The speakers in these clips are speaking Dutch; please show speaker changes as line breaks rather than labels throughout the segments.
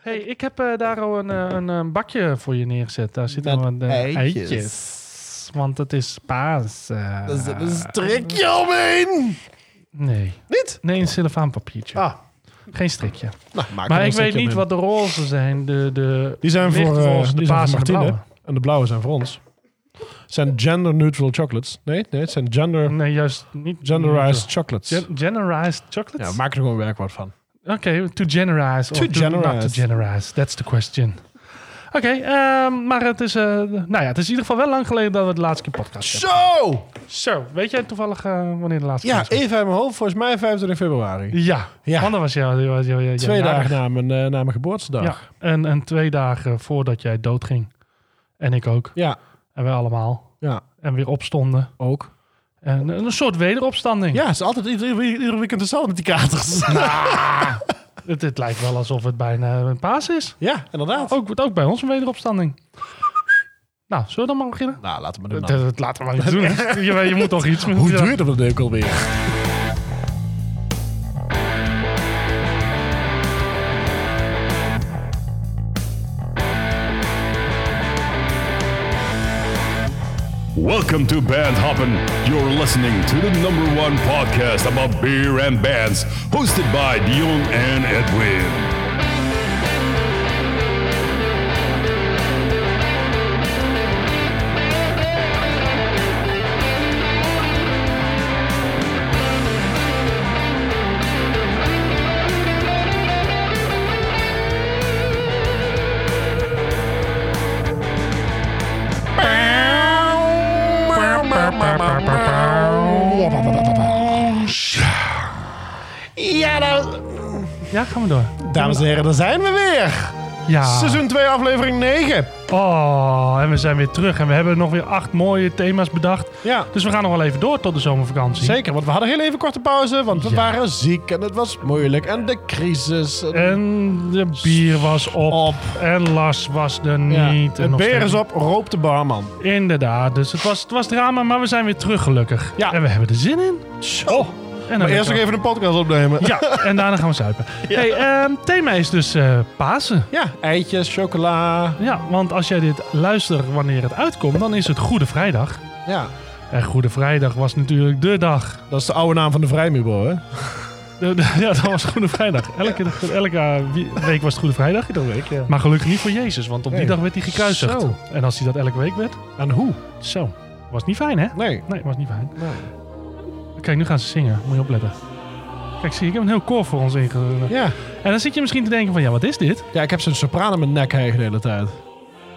Hey, ik heb eh, daar al een, eh, een, eh, bakje voor je neergezet. Daar zitten
Met
wat eh, eitjes.
eitjes.
Want het is paas. eh.
Dat is, dat is een strikje omheen.
Nee.
Niet?
Nee, een cellofaanpapiertje.
Ah,
Geen strikje.
nou, maak
Maar
er
ik
een
weet
strikje
niet
omheen.
wat de roze zijn. De, de
Die zijn voor eh,
lichtroze,
die
de
zijn
paas
voor
en de
Martine.
blauwe.
En de blauwe zijn voor ons. Het zijn gender-neutral chocolates. Nee, nee, het zijn gender,
Nee, juist niet.
genderized chocolates.
Gen- generized
ja,
chocolates?
maak er gewoon werkwoord van.
Oké, to generalize.
To
or Not to
generalize.
generalize, that's the question. Oké, ehm, maar het is, eh, nou ja, het is in ieder geval wel lang geleden dat we de laatste keer podcast hebben.
Zo!
Zo, weet jij toevallig eh, wanneer de laatste
Ja,
keer is?
even uit mijn hoofd. Volgens mij 25 februari.
Ja,
Ja.
want dat was jouw jou,
Twee dagen na mijn, eh, na mijn geboortedag.
Ja,
Ja.
en, en twee dagen voordat jij doodging. En ik ook.
ja.
En wij allemaal. En weer opstonden.
Ook.
En een soort wederopstanding.
Ja, het is altijd ieder, ieder, ieder weekend hetzelfde met die katers.
Het, het lijkt wel alsof het bijna een paas is.
ja, inderdaad.
Ook, ook bij ons een wederopstanding. Nou, zullen we dan maar beginnen?
Nou, laten we doen
Dat,
dan.
dat laten we maar niet doen. Je, je moet toch iets met
Hoe duurt het op de deuk alweer?
Welcome to Band Hoppin'. You're listening to the number one podcast about beer and bands, hosted by Dion and Edwin.
Ja, nou,
Ja, gaan we door.
Dames en heren, daar zijn we weer.
Ja.
Seizoen 2, aflevering 9.
Oh, en we zijn weer terug. En we hebben nog weer acht mooie thema's bedacht.
Ja.
Dus we gaan nog wel even door tot de zomervakantie.
Zeker, want we hadden heel even korte pauze, want we
Ja.
waren ziek en het was moeilijk en de crisis. En
En de bier was Eh, op.
Op.
En Lars was er niet.
Oh. ja.
En
De
nog
beer is
steeds-
op, roop de barman.
Inderdaad. Dus het was, het was drama, maar we zijn weer terug gelukkig.
Ja.
En we hebben er zin in.
Oh,
En dan
maar eerst
weer-
nog even een podcast opnemen.
Ja, en daarna gaan we zuipen. Hey, ehm, thema is dus eh, Pasen.
Ja, eitjes, chocola.
Ja, want als jij dit luistert wanneer het uitkomt, dan is het Goede Vrijdag.
Ja,
En Goede Vrijdag was natuurlijk de dag.
dat is de oude naam van de vrijmubo, hè?
De- de- ja, dat was Goede Vrijdag. Elke, elke eh, wie- week was het Goede Vrijdag.
Iedere week, ja.
Maar gelukkig niet voor Jezus, want op die
Nee.
dag werd hij gekruisigd.
Zo.
En als hij dat elke week werd,
En hoe?
zo. Was niet fijn, hè?
Nee.
Nee, was niet fijn. Kijk, nu gaan ze zingen. Moet je opletten. Kijk, zie je, ik heb een heel koor voor ons ingezet.
Ja.
En dan zit je misschien te denken van, ja, wat is dit?
ja, ik heb zo'n sopraan in mijn nek heen de hele tijd.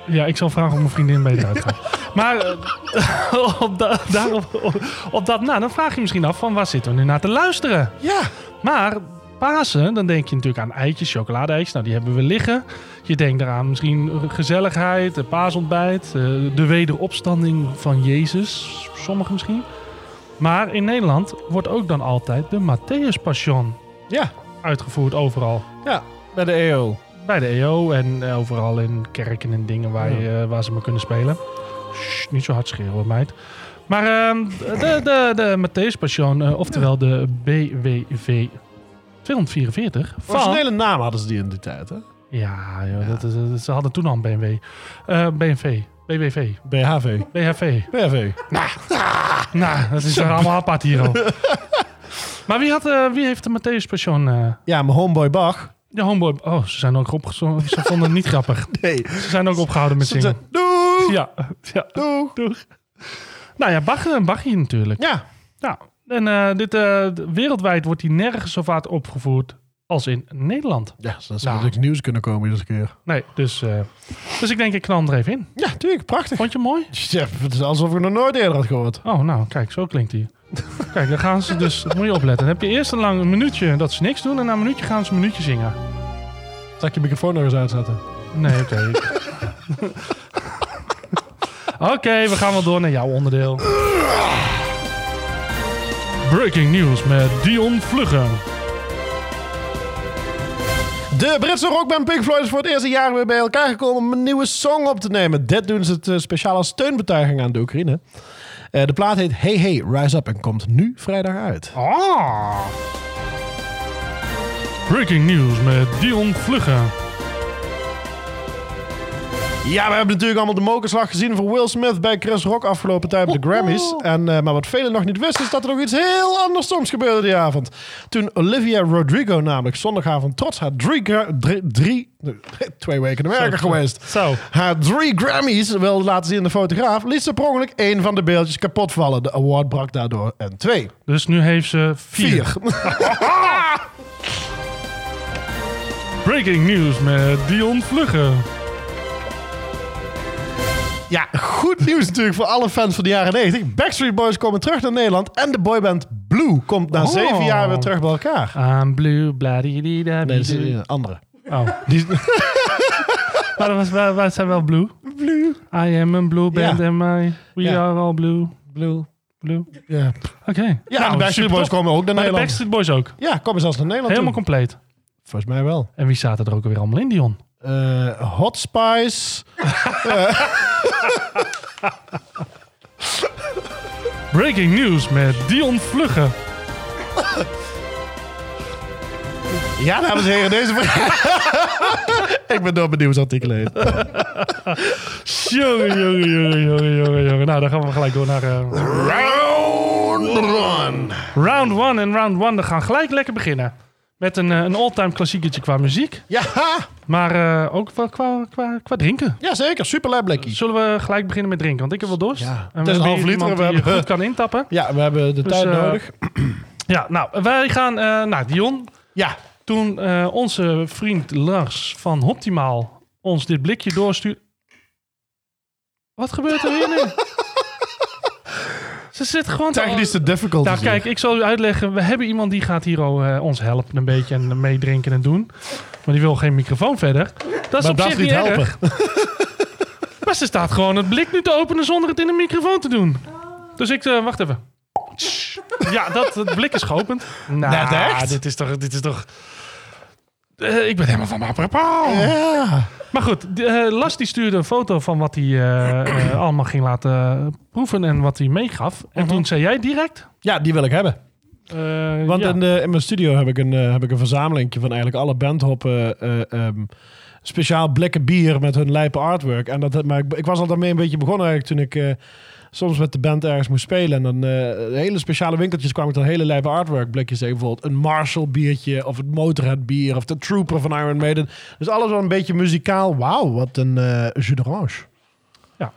Ja, ik zal vragen of mijn vriendin beter uitgaat. Maar eh, op, da- daarop, op, op dat na, dan vraag je misschien af van waar zitten we nu naar te luisteren?
Ja.
Maar Pasen, dan denk je natuurlijk aan eitjes, chocolade-eitjes. Nou, die hebben we liggen. Je denkt eraan misschien gezelligheid, eh, paasontbijt, eh, de wederopstanding van Jezus, sommigen misschien. Maar in Nederland wordt ook dan altijd de Matthäus Passion
Ja.
uitgevoerd overal.
Ja, bij de E EO.
Bij de EO en eh, overal in kerken en dingen waar, je, eh, waar ze mee kunnen spelen. Sst, niet zo hard schreeuwen, hoor, meid. Maar ehm, de, de, de Matthäus Passion, eh, oftewel de BWV 244 van...
Originele naam hadden ze die in die tijd, hè?
Ja, joh, Dat, is- dat is- ze hadden toen al een BMW. Eh, BMV. BWV.
BHV.
BHV.
BHV.
nou, dat is toch allemaal apart hier al. maar wie, had, eh, wie heeft de Matthäus Passion... eh,
Ja, mijn homeboy Bach.
de homeboy... Oh, ze zijn ook opgezonden. Ze vonden het niet grappig.
Nee.
Ze zijn ook opgehouden met zingen.
Doei!
Ja, ja.
Doeg.
Doeg. Nou ja, Bach, Bach hier natuurlijk.
Ja.
Nou, en eh, dit, eh, d- wereldwijd wordt die nergens zo vaak opgevoerd als in Nederland.
Ja, dus zodat ze
Nou.
natuurlijk nieuws kunnen komen iedere keer.
Nee, dus, eh, dus ik denk, ik knal hem er even in.
Ja, natuurlijk. Prachtig.
Vond je hem mooi?
Ja, het is alsof ik het nog nooit eerder had gehoord.
Oh, nou, kijk, zo klinkt hij. Kijk, dan gaan ze dus, moet je opletten. Dan heb je eerst een lang een minuutje dat ze niks doen en na een minuutje gaan ze een minuutje zingen.
Zal ik je microfoon nog eens uitzetten?
Nee, oké. oké, we gaan wel door naar jouw onderdeel. Breaking news met Dion Vluggen.
De Britse rockband Pink Floyd is voor het eerste jaar weer bij elkaar gekomen om een nieuwe song op te nemen. Dit doen ze het speciaal als steunbetuiging aan de Oekraïne. Eh, de plaat heet Hey Hey, Rise Up en komt nu vrijdag uit.
Ah. Breaking news met Dion Vluggen.
Ja, we hebben natuurlijk allemaal de mokerslag gezien voor Will Smith bij Chris Rock afgelopen tijd bij de Grammys. En, eh, maar wat velen nog niet wisten is dat er nog iets heel anders soms gebeurde die avond. Toen Olivia Rodrigo namelijk zondagavond trots haar drie... gra- drie, drie twee weken in Amerika
Zo.
geweest.
Zo.
Haar drie Grammys wilde laten zien aan de fotograaf. Liet ze per ongeluk één van de beeldjes kapot vallen. De award brak daardoor en twee.
Dus nu heeft ze vier.
Vier.
Breaking news met Dion Vlugge.
Ja, goed nieuws natuurlijk voor alle fans van de jaren 90. Backstreet Boys komen terug naar Nederland. En de boyband Blue komt na
Oh.
zeven jaar weer terug bij elkaar.
I'm blue, bladidida.
Nee, dat is een andere.
Oh,
Die,
maar dat was, wij, wij zijn wel blue.
Blue.
I am een blue band
Ja.
and my, we
Ja.
are all blue.
Blue.
Blue.
Ja,
Oké.
ja
Nou,
de Backstreet
supertop.
Boys komen
Maar
ook naar
de
Nederland.
Backstreet Boys ook.
Ja, komen zelfs naar Nederland
Helemaal
toe.
compleet.
Volgens mij wel.
En wie zaten er ook weer allemaal in, Dion?
Eh, Hot Spice.
Breaking news met Dion Vlugge.
Ja, dames en heren, deze vraag. Ik ben door mijn nieuwsartikelen heen.
Jongen, jongen, jongen, jongen, jongen, jongen. Nou, dan gaan we gelijk door naar... eh,
Round one.
Round 1 en round 1 gaan gelijk lekker beginnen. Met een, eh, een all-time klassieketje qua muziek.
Ja,
Maar eh, ook wel qua, qua, qua drinken.
ja zeker. Super blekkie.
Zullen we gelijk beginnen met drinken? Want ik heb wel dorst.
Ja.
En we
Het
hebben
is een half
hier
liter,
iemand
we
die
hebben-
goed kan intappen.
Ja, we hebben de
Dus,
tijd
eh,
nodig.
Ja, nou, wij gaan eh, naar Dion.
Ja,
Toen eh, onze vriend Lars van Optimaal ons dit blikje doorstuurt. Wat gebeurt er hier nu? Ze zit gewoon te-
technische difficulties.
Nou, kijk, ik zal u uitleggen. We hebben iemand die gaat hier al, eh, ons helpen een beetje en meedrinken en doen. Maar die wil geen microfoon verder. Dat is
Maar
op
dat
zich
niet
niet
helpen.
erg. maar ze staat gewoon het blik nu te openen zonder het in een microfoon te doen. Dus ik, eh, wacht even. Ja, dat, het blik is geopend. Nou,
Net echt?
dit is toch... Dit is toch Eh, ik ben helemaal van mijn apropos.
Ja.
Maar goed, de, eh, Las die stuurde een foto van wat hij eh, eh, allemaal ging laten proeven en wat hij meegaf. En
Mhm.
toen zei jij direct...
ja, die wil ik hebben.
eh,
Want
ja.
in, de, in mijn studio heb ik een, eh, heb ik een verzamelingje van eigenlijk alle bandhoppen. eh, ehm, speciaal blikken bier met hun lijpe artwork. En dat, maar ik, ik was al daarmee een beetje begonnen eigenlijk toen ik eh, soms met de band ergens moest spelen. En dan eh, hele speciale winkeltjes kwam ik dan hele lijpe artwork blikjes tegen. Bijvoorbeeld een Marshall biertje of het Motorhead bier of de Trooper van Iron Maiden. Dus alles wel een beetje muzikaal. Wauw, wat een eh jus d'orange.
Ja.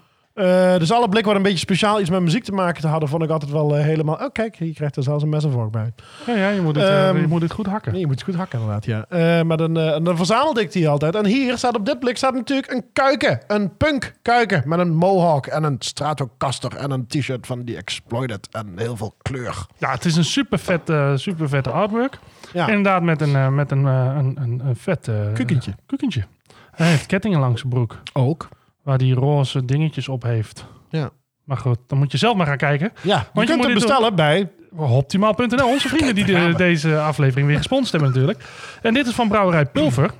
Eh, dus alle blikken wat een beetje speciaal iets met muziek te maken te hadden, vond ik altijd wel eh, helemaal... Oh kijk, je krijgt er zelfs een mes en vork bij.
Ja, ja je, moet het, eh,
Ehm,
je moet het goed hakken.
Nee, je moet het goed hakken inderdaad, ja. Eh, maar dan, eh, en dan verzamelde ik die altijd. En hier staat op dit blik staat natuurlijk een kuiken. Een punk kuiken met een mohawk en een stratocaster en een t-shirt van The Exploited. En heel veel kleur.
Ja, het is een super vet, eh, super vette artwork.
Ja.
Inderdaad, met een, eh, met een, eh, een, een, een vet eh,
Kukkentje.
eh, kukkentje. Hij heeft kettingen langs zijn broek,
Ook.
waar die roze dingetjes op heeft.
Ja.
Maar goed, dan moet je zelf maar gaan kijken.
Ja, je
je
kunt
moet
hem
dit
bestellen bij...
Optimaal.nl, onze vrienden die de- deze aflevering weer gesponsord hebben natuurlijk. En dit is van brouwerij Pulver.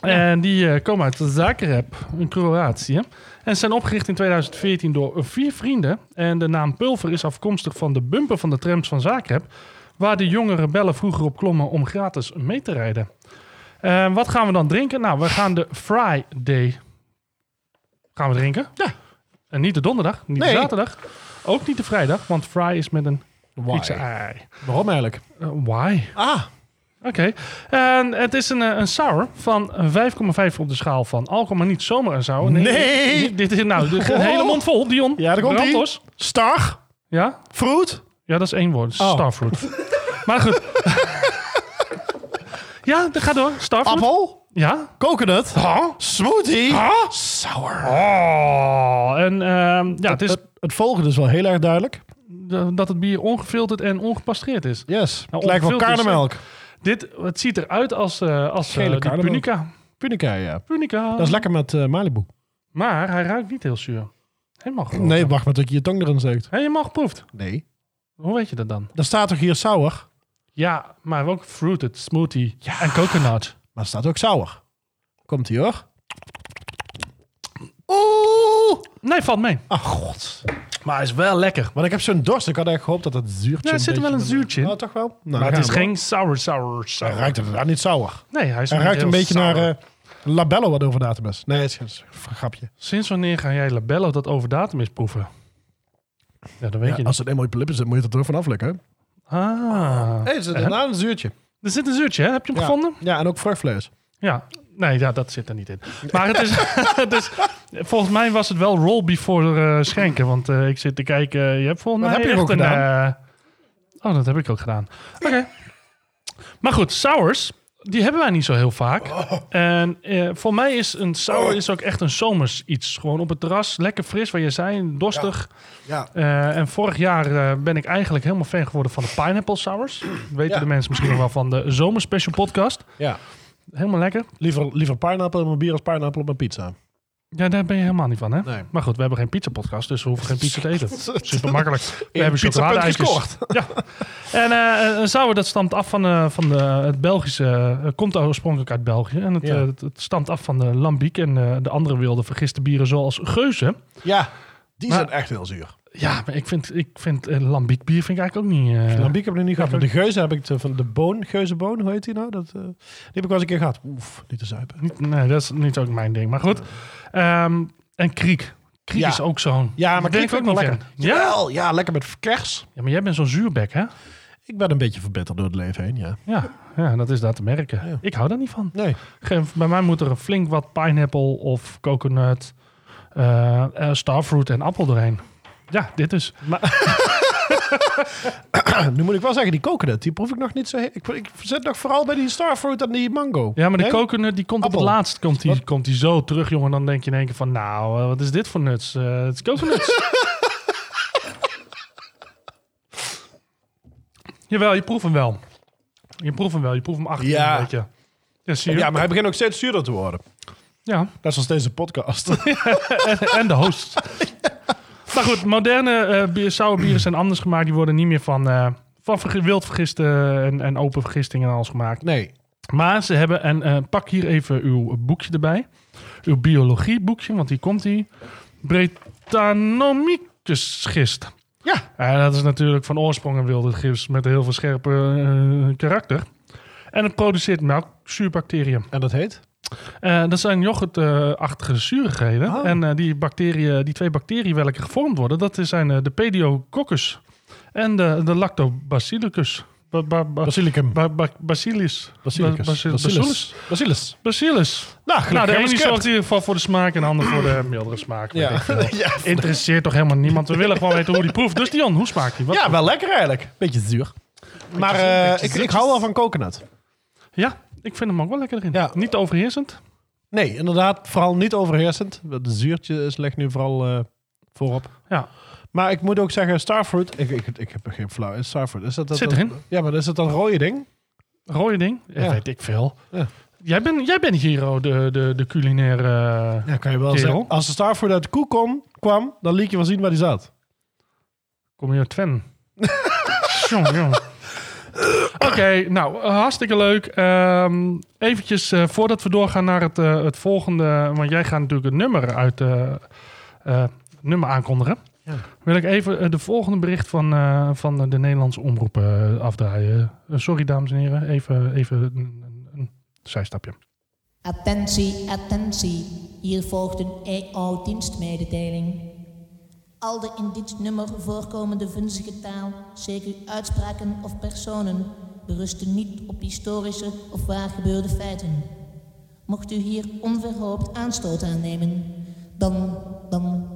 En die eh, komen uit Zagreb, in Kroatië. En ze zijn opgericht in 2014 door vier vrienden. En de naam Pulver is afkomstig van de bumper van de trams van Zagreb... waar de jonge rebellen vroeger op klommen om gratis mee te rijden. Eh, wat gaan we dan drinken? Nou, we gaan de Friday gaan we drinken.
Ja.
En niet de donderdag, niet
Nee.
de zaterdag. Ook niet de vrijdag, want Fry is met een Pizza ei.
Waarom eigenlijk?
Eh, why?
Ah,
Oké. En het is een, eh, een sour van 5,5 op de schaal van alcohol, maar niet zomaar een sour.
Nee!
Dit, dit is nou de
Oh.
hele mond vol, Dion.
Ja, daar komt-ie.
Brand los.
star,
Ja?
fruit.
Ja, dat is één woord.
Oh.
Starfruit. maar goed. ja, dat gaat door. Starfruit.
Appel,
Ja.
coconut, smoothie,
Ah.
sour.
Oh. En ehm, ja, het is
Het, het volgende is wel heel erg duidelijk.
d- dat het bier ongefilterd en ongepastreerd is.
Yes,
Nou,
het lijkt wel
ongevuld is-
karnemelk.
Dit, het ziet eruit als, eh als eh,
Gele
die
kardemom.
Punica.
Punica, ja.
Punica.
Dat is lekker met eh, Malibu.
Maar hij ruikt niet heel zuur. Helemaal goed.
Nee, wacht maar tot je je tong erin steekt.
Hé, helemaal geproefd.
Nee.
Hoe weet je dat dan?
Er staat toch hier sour?
Ja, maar ook fruited, smoothie en coconut.
Maar er staat ook sour. Komt ie hoor. Oeh!
Nee, valt mee.
Ach Ah, god.
Maar is wel lekker.
Want ik heb zo'n dorst. Ik had echt gehoopt dat dat zuurtje.
Ja, er zit
beetje-
wel een zuurtje in.
Nou, toch wel? Nou,
maar het
dan
is
gaan we.
geen sour, sour, sour.
Hij ruikt inderdaad niet sour.
Nee, hij is
Hij
niet
ruikt een
heel
beetje
sour.
naar. eh, Labello wat over datum is. Nee, het is een grapje.
Sinds wanneer ga jij Labello dat over datum is proeven? Ja, dat weet je
Ja,
niet.
als het eenmaal op je lippen zit, moet je het er ook van aflikken. hè?
Ah.
Hé, er zit
Hè?
inderdaad een zuurtje.
Er zit een zuurtje, hè? Heb je hem
Ja.
gevonden?
Ja, en ook vruchtvlees.
Ja. Nee, ja, dat zit er niet in. Maar het is, het is- volgens mij was het wel roll before eh, schenken. Want eh, ik zit te kijken, eh, je hebt volgens
Dat
mij
heb je
echt
ook
een... eh, oh, dat heb ik ook gedaan. Oké. Maar goed, sours, die hebben wij niet zo heel vaak. En eh, voor mij is een sour is ook echt een zomers iets. Gewoon op het terras, lekker fris, waar je zei, dorstig.
Ja.
Eh, en vorig jaar eh, ben ik eigenlijk helemaal fan geworden van de pineapple sours. Weten
Ja.
de mensen misschien nog wel van de zomerspecial podcast.
ja.
Helemaal lekker.
Liever, liever pineappel op mijn bier als pineappel op mijn pizza.
Ja, daar ben je helemaal niet van, hè?
Nee.
Maar goed, we hebben geen pizza-podcast, dus we hoeven geen pizza te eten. Super makkelijk. We
Eén
hebben
pizza
chocoladeijsjes.
punt
Ja. En eh een sour, dat stamt af van, eh, van de, het Belgische... eh, komt oorspronkelijk uit België. En het,
Ja.
eh, het, het stamt af van de Lambiek en eh, de andere wilde vergiste bieren, zoals Geuze.
Ja, die
Maar-
zijn echt heel zuur.
Ja, maar ik vind, ik vind eh, Lambiek bier vind ik eigenlijk ook niet... eh,
Lambiek heb ik nog niet gehad. maar de geuze heb ik te- van de boon, geuzenboon, hoe heet die nou? Dat, eh, die heb ik wel eens een keer gehad. Oef, niet te zuipen.
niet- nee, dat is niet ook mijn ding. Maar goed. Ehm, en Kriek. Kriek
Ja.
is ook zo'n...
Ja,
Daar
maar
ben
klinkt ook
fan.
wel lekker.
Ja?
Jawel, ja, lekker met kers.
ja, maar jij bent zo'n zuurbek, hè?
Ik ben een beetje verbitterd door het leven heen, ja.
Ja, ja, dat is daar te merken.
Ja.
Ik hou daar niet van.
Nee.
Geen- Bij mij moet er een flink wat pineapple of coconut, eh, eh, starfruit en appel doorheen. Ja, dit is.
Nu moet ik wel zeggen, die coconut, die proef ik nog niet zo... he- Ik, ik zit nog vooral bij die starfruit en die mango.
Ja, maar de
Nee?
coconut die komt op
Appel.
het laatst komt die,
Wat?
komt die zo terug, jongen. Dan denk je in één keer van, nou, eh, wat is dit voor nuts? Eh, het is coconuts. Jawel, je proeft hem wel. Je proeft hem wel. Je proeft hem achter
Ja.
een beetje. Ja, zie je?
Ja, maar hij begint ook steeds zuurder te worden.
ja.
Net zoals deze podcast.
en, en de host. Maar goed, moderne eh bier, sour bieren zijn anders gemaakt. Die worden niet meer van, eh van verge- wild vergisten en, en open vergistingen en alles gemaakt.
nee.
Maar ze hebben, en eh, pak hier even uw boekje erbij. Uw biologieboekje, want hier komt die. Brettanomycus gist.
Ja.
Ja, dat is natuurlijk van oorsprong een wilde gist met heel veel scherpe eh, karakter. En het produceert melkzuurbacteriën.
En dat heet?
Eh, dat zijn yoghurtachtige zuurigheden.
Oh.
En eh, die, bacteriën, die twee bacteriewelken gevormd worden, dat zijn eh, de pediococcus en de, de lactobacillus. Ba- ba- ba-
Basilicum.
ba- ba- basilis.
Basilicus.
Ba- basi-
Bacillus.
bacillus.
Bacillus.
Bacillus.
Nou,
Nou, de
hebben
ene
we
die
script.
zorgt hier voor voor de smaak en de ander voor de mildere smaak. weet ik veel.
Ja. ja.
Interesseert toch helemaal niemand. We willen gewoon weten hoe die proeft. Dus Dion, hoe smaakt die? Wat-
ja, wel lekker eigenlijk. Beetje zuur. Maar eh, ik, ik hou wel van coconut.
ja, ik vind hem ook wel lekker erin.
Ja.
Niet te overheersend.
Nee, inderdaad. Vooral niet overheersend. Het zuurtje is ligt nu vooral eh, voorop.
Ja.
Maar ik moet ook zeggen, starfruit. Ik, ik, ik heb geen flauw. Is starfruit. Is dat, dat,
Zit
dat-
erin.
Ja, maar is dat dat rode ding?
Rode ding. Ja,
Ja.
Weet ik veel.
Ja.
Jij bent jij bent hier oh, de, de, de culinaire... eh,
Ja, kan je wel
Kerel.
zeggen. Als de starfruit uit de koe kon- kwam, dan liet je wel zien waar die zat.
Kom je uit Twen? Jong, jong. Oké, nou, eh, hartstikke leuk. Ehm eventjes, eh, voordat we doorgaan naar het, eh, het volgende... Want jij gaat natuurlijk het nummer uit... eh, eh, nummer aankondigen.
Ja.
Wil ik even eh, de volgende bericht van, eh, van de Nederlandse omroep eh, afdraaien. Eh, sorry, dames en heren. Even, even een, een, een zijstapje.
Attentie, attentie. Hier volgt een EO-dienstmededeling. Al de in dit nummer voorkomende vunzige taal, zeker uitspraken of personen, berusten niet op historische of waargebeurde feiten. Mocht u hier onverhoopt aanstoot aannemen, dan, dan,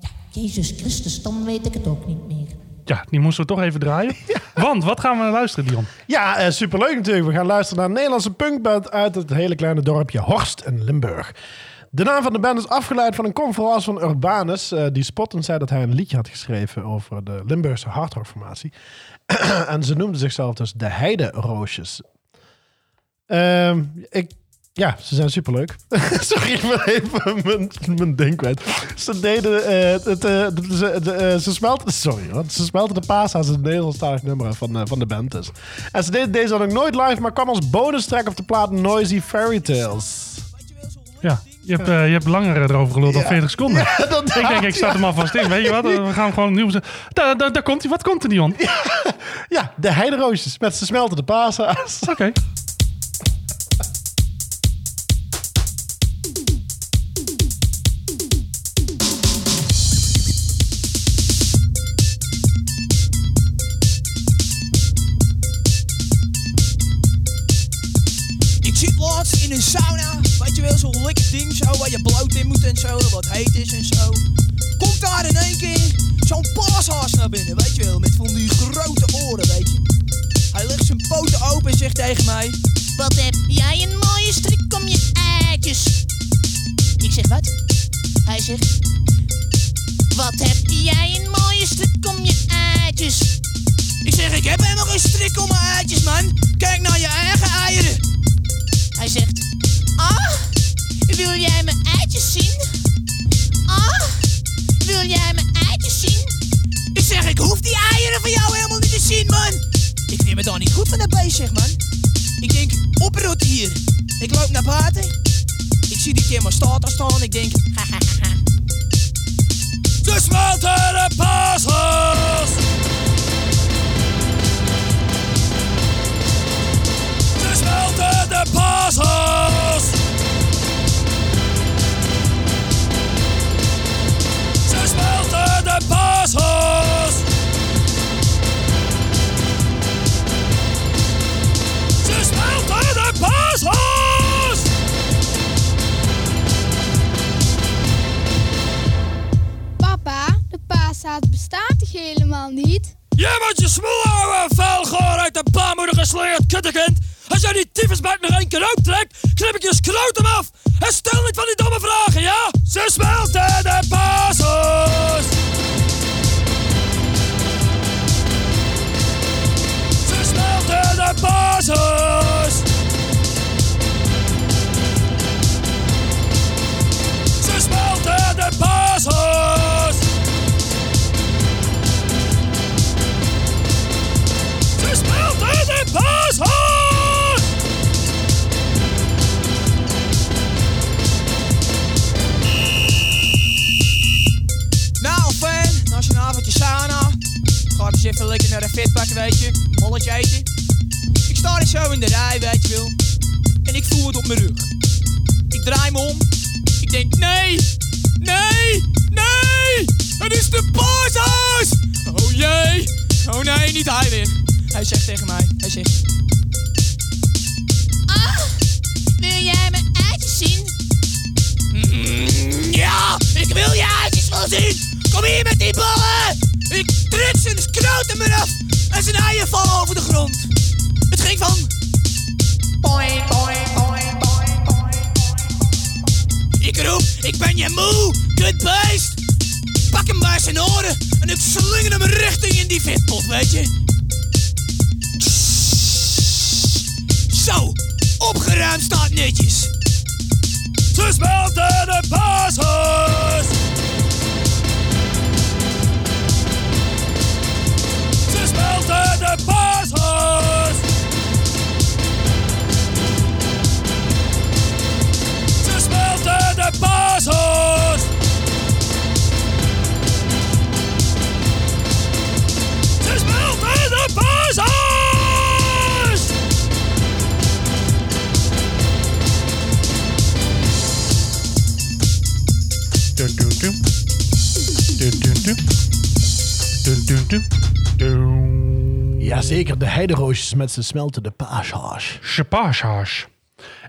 ja, Jezus Christus, dan weet ik het ook niet meer.
Ja, die moesten we toch even draaien. Want, wat gaan we naar luisteren, Dion?
Ja, eh, superleuk natuurlijk. We gaan luisteren naar een Nederlandse punkband uit het hele kleine dorpje Horst in Limburg. De naam van de band is afgeleid van een conferentie van Urbanus. eh, die spottend zei dat hij een liedje had geschreven over de Limburgse hardrockformatie. en ze noemden zichzelf dus de Heideroosjes. Ehm, ik, ja, ze zijn superleuk. Sorry, ik ben even mijn, mijn ding kwijt. Ze deden eh, het, eh, ze, de, eh, ze smelten, sorry, want ze smelten de paas aan het Nederlandstalig nummer van, eh, van de band dus. En ze deden deze dan ook nooit live, maar kwam als bonus track op de plaat Noisy Fairy Tales.
Ja, je hebt, eh, je hebt langer erover geluld dan
Ja.
40 seconden.
dat
ik denk, ik zat hem alvast in. Weet je wat? We gaan gewoon opnieuw... Daar, daar, daar komt hij. Wat komt er, Dion? Oké.
Ja, de heideroosjes met ze smelten de paas aan.
het ding zo, waar je bloot in moet en zo, en wat heet is en zo. Komt daar in één keer zo'n paashaas naar binnen, weet je wel, met van die grote oren, weet je. Hij legt zijn poten open en zegt tegen mij,
Wat heb jij een mooie strik om je eitjes? Ik zeg wat? Hij zegt. Wat heb jij een mooie strik om je eitjes?
ik zeg ik heb helemaal geen strik om mijn eitjes man, kijk naar je eigen eieren.
Hij zegt. Ah, wil jij mijn eitjes zien? Ah, wil jij mijn eitjes zien?
Ik Dus zeg ik hoef die eieren van jou helemaal niet te zien man. Ik vind me daar niet goed van dat beest zeg man. Ik denk oprot hier. Ik loop naar buiten. Ik zie die Timmer Stata staan, ik denk De smeltere paashaas! De smeltende paashaas! Ze smeltende paashaas! Ze smeltende paashaas!
Papa, de paashaas bestaat toch helemaal niet?
Jij moet je smoelen, vuilgoor uit de baarmoeder gesleurd kuttekind! Als jij die tyfusbuik nog één keer optrekt, knip ik je scrotum af! En stel niet van die domme vragen, ja? Ze smelten de basis! Ze smelten de basis! Ze smelten de basis! Ze smelten de basis! Nou, fan, als je een avondje sauna. Ga ik eens even lekker naar de fitbak, weet je. Holletje eten. Ik sta hier zo in de rij, weet je wel. En ik voel het op mijn rug. Ik draai me om. Ik denk, nee, nee, nee. Het is de paashuis. Oh jee. Oh nee, niet hij weer. Hij zegt tegen mij, hij zegt...
Ah, wil jij mijn eitjes zien?
Mm, ja, ik wil je eitjes wel zien. Kom hier met die ballen. Ik trits en skroot hem eraf. En zijn eieren vallen over de grond. Het ging van... Boing, boing, boing, boing, boing, boing. Ik roep, ik ben je moe, kut beest. Pak hem bij zijn oren en ik slinger hem richting in die vetpot, weet je. Zo, opgeruimd staat netjes. Ze smelten de basis. Ze smelten de basis. Ze smelten de basis. Ze smelten de basis.
Dun, dun, dun. Dun, dun, dun. Dun, dun, dun. Dun.
Jazeker, de heideroosjes met zijn smeltende paashaas.
Paashaas.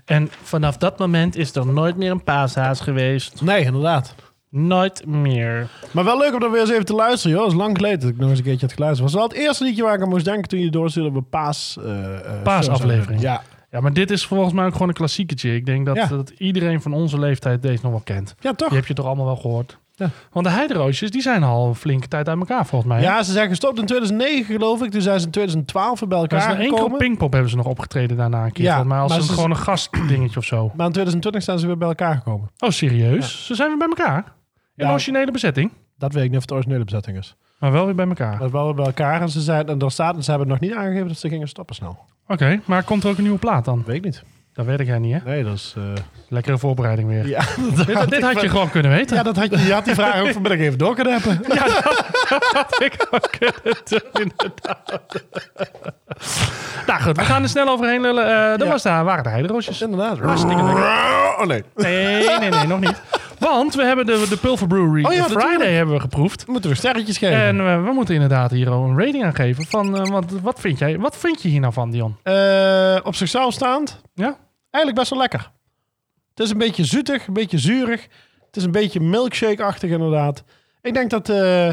En vanaf dat moment is er nooit meer een paashaas geweest.
Nee, inderdaad.
Nooit meer.
Maar wel leuk om er weer eens even te luisteren, joh. Het is lang geleden dat ik nog eens een keertje had geluisterd. Het was wel het eerste liedje waar ik aan moest denken toen je doorstuurde op een paas... eh, eh,
Paasaflevering.
Ja.
Ja, maar dit is volgens mij ook gewoon een klassieketje. Ik denk dat,
Ja.
dat iedereen van onze leeftijd deze nog wel kent.
ja, toch?
Die heb je toch allemaal wel gehoord?
Ja.
Want de heideroosjes, die zijn al een flinke tijd uit elkaar volgens mij. hè?
Ja, ze zijn gestopt in 2009 geloof ik. Toen zijn ze in 2012 weer bij
Er is
elkaar
nog één keer op
gekomen.
Pinkpop hebben ze nog opgetreden daarna een keer.
Ja,
Ja, maar als
maar
een,
ze-
gewoon een gastdingetje of zo.
Maar in 2020 zijn ze weer bij elkaar gekomen.
Oh, serieus? Ze zijn weer bij elkaar? In
Ja.
originele bezetting?
Dat weet ik niet of het de originele bezetting is.
Maar wel weer bij elkaar.
Maar wel weer bij elkaar. En ze, zijn, en er staat, en ze hebben nog niet aangegeven dat ze gingen stoppen snel.
Oké, maar komt er ook een nieuwe plaat dan?
Weet ik niet.
Dat weet ik jij niet, hè?
Nee, dat is... eh,
Lekkere voorbereiding weer.
Ja,
Dit, dit had je gewoon kunnen weten.
Ja, dat had je, je had die vraag ook vanmiddag even door kunnen hebben.
ik ook inderdaad. nou goed, we gaan er snel overheen lullen. Eh dat
Ja.
was daar, waren de heideroosjes.
Inderdaad. Oh nee.
Nee, nee, nee, nog niet. Want we hebben de, de Pulver Brewery
Oh ja,
Friday
natuurlijk.
hebben we geproefd.
Moeten we sterretjes geven?
En eh, we moeten inderdaad hier al een rating aan geven. Van, eh, want wat vind jij? Wat vind je hier nou van, Dion?
Eh, op zichzelf staand,
Ja?
eigenlijk best wel lekker. Het is een beetje zoetig, een beetje zuurig. Het is een beetje milkshake-achtig inderdaad. Ik denk dat, eh,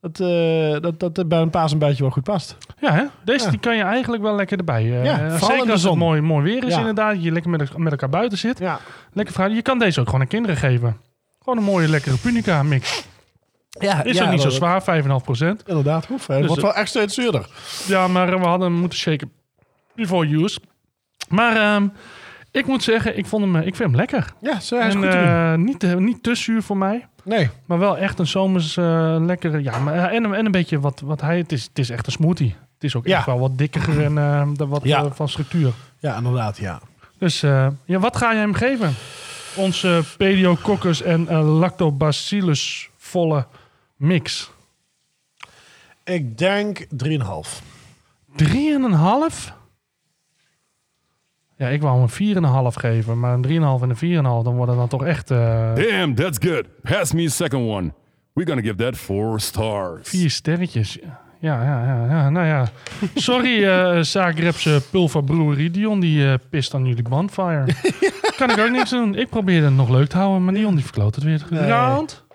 dat, eh, dat, dat het bij een paasontbijtje wel goed past.
Ja, hè? deze
Ja.
Die kan je eigenlijk wel lekker erbij. eh,
Ja,
eh,
vooral in
zeker
de
als
zon.
het mooi, mooi weer is
Ja.
inderdaad. Je lekker met, met elkaar buiten zit.
Ja.
Lekker fruit. Je kan deze ook gewoon aan kinderen geven. Gewoon een mooie lekkere punica mix.
Ja,
Is ook niet zo zwaar, 5,5%.
Inderdaad, hoef. Dus Het wordt wel echt steeds zuurder.
Ja, maar eh, we hadden hem moeten shaken before use. Maar ehm, ik moet zeggen, ik, vond hem, eh, ik vind hem lekker.
Ja, zo hij is
en
goed te doen.
eh, niet, te- niet te zuur voor mij.
Nee,
Maar wel echt een zomers eh, lekkere. Ja, maar, eh, en, een- en een beetje wat, wat hij. Het is, het is echt een smoothie. Het is ook
Ja.
echt wel wat dikker en eh, dan wat
Ja.
eh, van structuur.
ja, inderdaad, ja.
Dus eh, ja, wat ga je hem geven? Onze pediococcus en eh, lactobacillus volle mix. 3,5?
Ik denk 3,5.
Ja, ik wou hem een 4,5 geven. Maar een 3,5 en een 4,5, dan worden dan toch echt eh,
Damn, that's good. Pass me a second one. We're gonna give that four stars.
Vier sterretjes. Ja, ja, ja, ja nou ja. Sorry, eh Zagrebse pulverbroerie. Dion die eh, pist aan jullie bonfire. kan ik ook niks doen. Ik probeerde het nog leuk te houden, maar Dion die verkloot het weer. Round?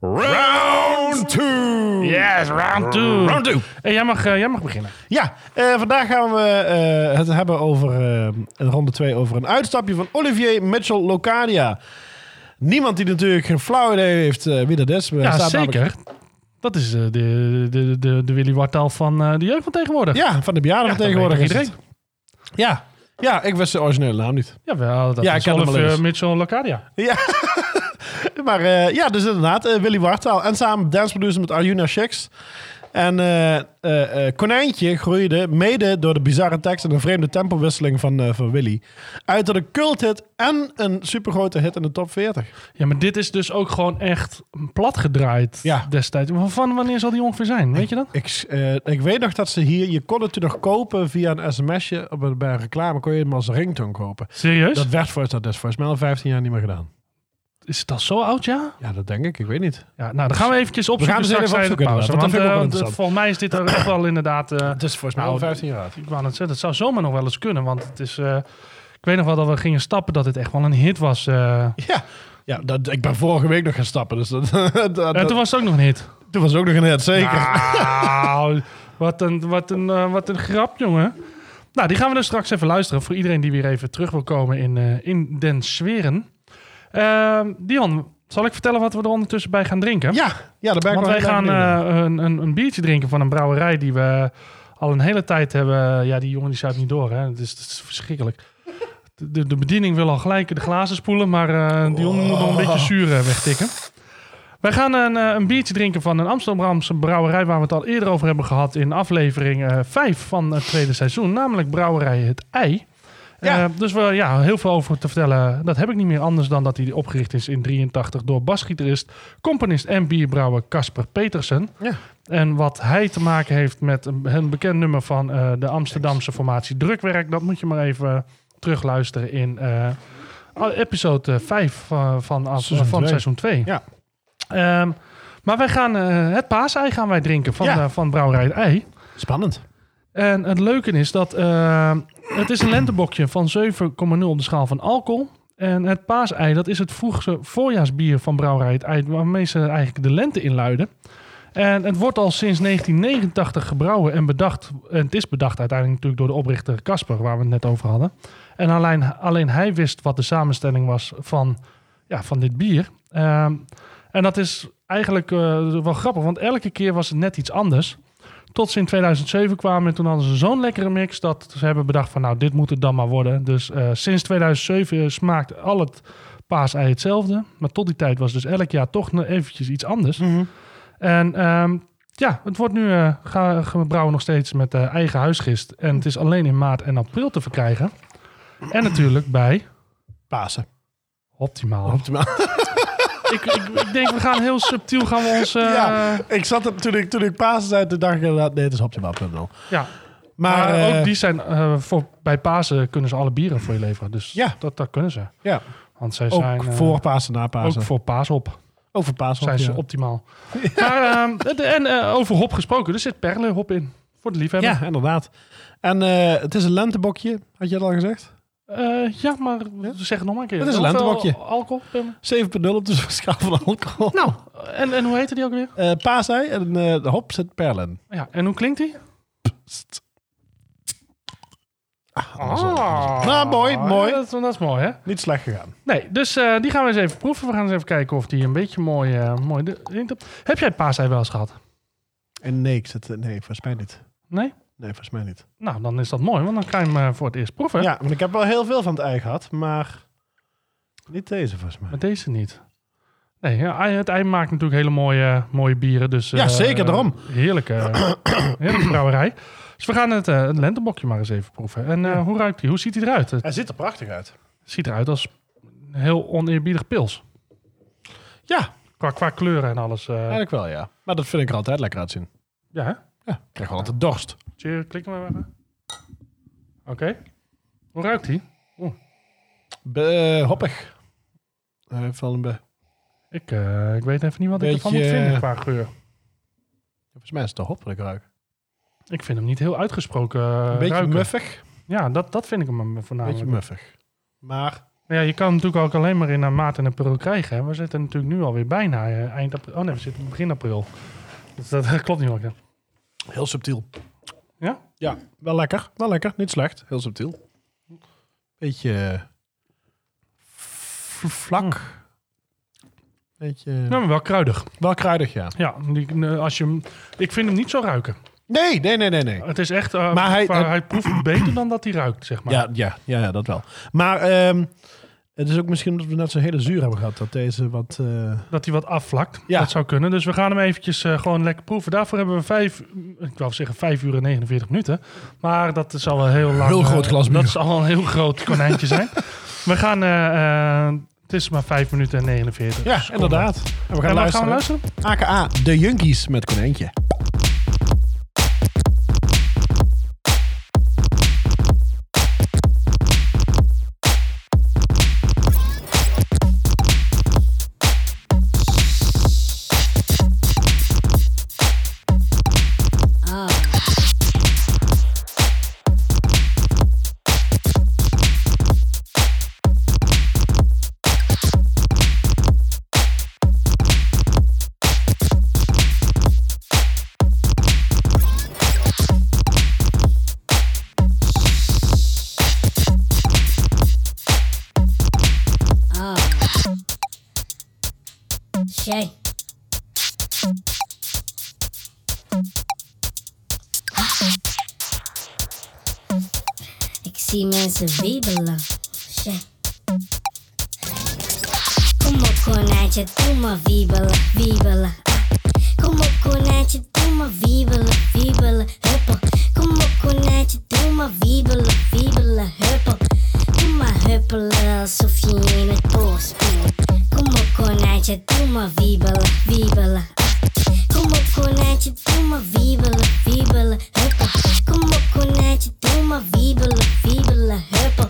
Round two.
Yes, round two.
Round two.
Hey, jij, mag, eh, jij mag beginnen.
Ja, eh, vandaag gaan we eh, het hebben over eh, in ronde 2 over een uitstapje van Olivier Mitchell Locadia. Niemand die natuurlijk geen flauw idee heeft eh, wie dat is. We
Ja,
staan namelijk-
zeker. Dat is eh, de, de, de, de Willy Wartaal van eh, de jeugd van tegenwoordig.
ja, van de bejaarden
Ja, dat
tegenwoordig.
weet toch
is het. Ja. ja, ik wist de originele naam niet.
Jawel, dat dus
Ja, ik
is
ken hem wel
Oliver
eens.
eh, Mitchell Locadia.
Ja, maar eh, ja, dus inderdaad, eh, Willy Wartaal. En samen danceproducer met Arjuna Sheks. En eh, eh, eh, Konijntje groeide mede door de bizarre tekst en de vreemde tempowisseling van, eh, van Willy. Uit tot een culthit en een supergrote hit in de top 40.
Ja, maar dit is dus ook gewoon echt plat gedraaid
Ja.
destijds. Van wanneer zal die ongeveer zijn? Weet je dat?
Ik, eh, ik weet nog dat ze hier, je kon het toen nog kopen via een sms'je op een, bij een reclame, kon je hem als ringtone kopen.
Serieus?
Dat werd voor, dat is volgens mij al 15 jaar niet meer gedaan.
Is het al zo oud, ja?
Ja, dat denk ik, ik weet niet.
Ja, nou, dan gaan we eventjes opzoeken.
gaan ze
straks tijdens
even
de
opzoeken,
pauze. Want,
inderdaad, want dat vind ik ook
eh,
wel interessant.
volgens mij is dit er echt wel inderdaad... eh,
Het is volgens mij
nou,
al 15 jaar oud.
ik wou net zeggen, het zou zomaar nog wel eens kunnen. Want het is... eh, ik weet nog wel dat we gingen stappen dat dit echt wel een hit was. eh.
Ja, ja dat, ik ben vorige week nog gaan stappen, dus dat, dat-
en toen was het ook nog een hit.
Toen was het ook nog een hit, zeker.
Nou, wat een, wat, een, eh, wat een grap, jongen. Nou, die gaan we dus straks even luisteren. Voor iedereen die weer even terug wil komen in, eh, in den sferen. Ehm, Dion, zal ik vertellen wat we er ondertussen bij gaan drinken?
Ja, ja, daar ben ik
Want
wel
wij
heel erg
gaan
benieuwd naar.
eh, een, een, een biertje drinken van een brouwerij die we al een hele tijd hebben. Ja, die jongen die zuipt niet door, hè. Het is, het is verschrikkelijk. De, de bediening wil al gelijk de glazen spoelen, maar eh die jongen moet nog een beetje zuur eh, wegtikken. Wij gaan een, eh, een biertje drinken van een Amsterdamse brouwerij waar we het al eerder over hebben gehad in aflevering eh 5 van het tweede seizoen, namelijk brouwerij Het Ei.
Ja.
Eh, dus we, ja, heel veel over te vertellen. Dat heb ik niet meer anders dan dat hij opgericht is in 83 door basgitarist, componist en bierbrouwer Casper Petersen.
Ja.
En wat hij te maken heeft met een, een bekend nummer van eh, de Amsterdamse formatie Drukwerk, dat moet je maar even eh, terugluisteren in eh, episode 5 van, van, af-
Seizoen
van
twee.
seizoen 2.
Ja.
Ehm, maar wij gaan eh, het paasei gaan wij drinken van,
Ja.
eh, van Brouwerij het Ei.
Spannend.
En het leuke is dat eh, het is een lentebokje van 7,0 op de schaal van alcohol. En het paasei, dat is het vroegse voorjaarsbier van Brouwerij het Ei, waarmee ze eigenlijk de lente inluiden. En het wordt al sinds 1989 gebrouwen en bedacht. En het is bedacht uiteindelijk natuurlijk door de oprichter Casper, waar we het net over hadden. En alleen, alleen hij wist wat de samenstelling was van, ja, van dit bier. Ehm, en dat is eigenlijk eh, wel grappig, want elke keer was het net iets anders. Tot ze in 2007 kwamen en toen hadden ze zo'n lekkere mix dat ze hebben bedacht van nou, dit moet het dan maar worden. Dus eh, sinds 2007 smaakt al het paasei hetzelfde. Maar tot die tijd was dus elk jaar toch nog eventjes iets anders. En ehm, ja, het wordt nu eh ga- gebrouwen nog steeds met eh, eigen huisgist. En het is alleen in maart en april te verkrijgen. En natuurlijk bij
Pasen.
Optimaal. ik, ik, ik denk, we gaan heel subtiel gaan we ons... eh,
ja,
ja.
ik zat er, toen ik, toen ik Pasen zei, toen dacht ik inderdaad, nee, het is optimaal.nl.
Maar,
Maar, eh,
ook die zijn... eh, voor, bij Pasen kunnen ze alle bieren voor je leveren. Dus
Ja.
dat, dat kunnen ze.
ja,
Want zij
ook
zijn... eh,
voor Pasen, na
ook
Pasen.
voor Paas op
ook voor Pasen.
zijn ze
ja.
optimaal. Maar, ehm, het- en eh, over hop gesproken, er zit perlenhop in. Voor de liefhebber.
Ja, inderdaad. En eh, het is een lentebokje, had je dat al gezegd?
Eh, ja, maar zeg het nog maar een keer.
Het is
Hoeveel
een lenteworkje.
Alcohol. Pim?
7.0 op de schaal van alcohol.
Nou, en, en hoe heette die ook weer?
Eh paasei en eh hop zit perlen.
Ja, en hoe klinkt die? Ah,
Nou, mooi, mooi.
Dat, dat is mooi, hè?
Niet slecht gegaan.
Nee, dus eh, die gaan we eens even proeven. We gaan eens even kijken of die een beetje mooi... eh mooi de- de- Heb jij paasei wel eens gehad?
En nee, ik zit, nee, volgens mij niet.
Nee?
Nee, volgens mij niet.
Nou, dan is dat mooi, want dan kan je hem eh, voor het eerst proeven.
Ja, want ik heb wel heel veel van het ei gehad, maar niet deze volgens mij.
Maar deze niet. Nee, ja, ei- het ei maakt natuurlijk hele mooie, mooie bieren. Dus,
Ja,
eh,
zeker, daarom.
Heerlijke, heerlijke brouwerij. Dus we gaan het, eh, het lentebokje maar eens even proeven. En eh, hoe ruikt die? Hoe ziet hij eruit? Het
Hij ziet er prachtig uit.
ziet eruit als een heel oneerbiedig pils.
Ja,
Qua, qua kleuren en alles. eh,
eigenlijk wel, ja. Maar dat vind ik er altijd lekker uitzien.
ja, hè?
Ja, ik krijg wel altijd dorst.
Cheer, klik maar even. Oké. Hoe ruikt die?
Be- eh, hoppig. Hij heeft wel een be-
Ik, eh, ik weet even niet wat ik ervan moet
Beetje,
vinden
eh,
qua geur.
Volgens mij is het de hop dat ik ruik.
Ik vind hem niet heel uitgesproken
Een
eh,
beetje
ruiken.
muffig.
Ja, dat, dat vind ik hem eh,
Een
voornamelijk.
beetje muffig. Maar
Nou Ja, je kan hem natuurlijk ook alleen maar in eh, maart en april krijgen. Hè? We zitten natuurlijk nu alweer bijna eh, eind april. Oh nee, we zitten begin april. Dus dat klopt niet wat ik zeg.
heel subtiel.
Ja?
Ja, wel lekker. Wel lekker. Niet slecht. Heel subtiel. Beetje eh, v- vlak. Beetje
Hm. Ja, Nou, maar wel kruidig.
wel kruidig, ja.
Ja, die, eh, als je, hem- ik vind hem niet zo ruiken.
Nee, nee, nee, nee, nee.
Het is echt, eh,
Maar hij-
qua-
het-
hij, proeft beter dan dat hij ruikt, zeg maar.
Ja, ja, ja, ja, dat wel. Maar ehm, het is ook misschien omdat we net zo'n hele zuur hebben gehad, dat deze wat... eh,
Dat hij wat afvlakt.
Ja.
Dat zou kunnen. Dus we gaan hem eventjes eh, gewoon lekker proeven. Daarvoor hebben we vijf, ik wou zeggen vijf uur en 49 minuten. Maar dat zal wel heel lang.
Heel
eh,
groot glas bier.
Dat zal wel een heel groot konijntje zijn. We gaan, eh, eh, het is maar vijf minuten en 49.
ja,
seconden.
inderdaad. En we gaan
En wat gaan
luisteren.
we luisteren?
AKA De Junkies met Konijntje.
Shay. Ik zie mensen wiebelen. Shay. Kom op konijntje, doe maar wiebelen, wiebelen. ah. Kom op konijntje, doe maar wiebelen, wiebelen, huppel. Kom op konijntje, doe maar wiebelen, wiebelen, huppel. Doe maar huppelen alsof je in het bos speelt. Kom op konijntje, doe maar wiebelen, wiebelen. ah. Kom op konijntje, doe maar wiebelen, wiebelen, huppel. Kom op konijntje, doe maar wiebelen, wiebelen, huppel.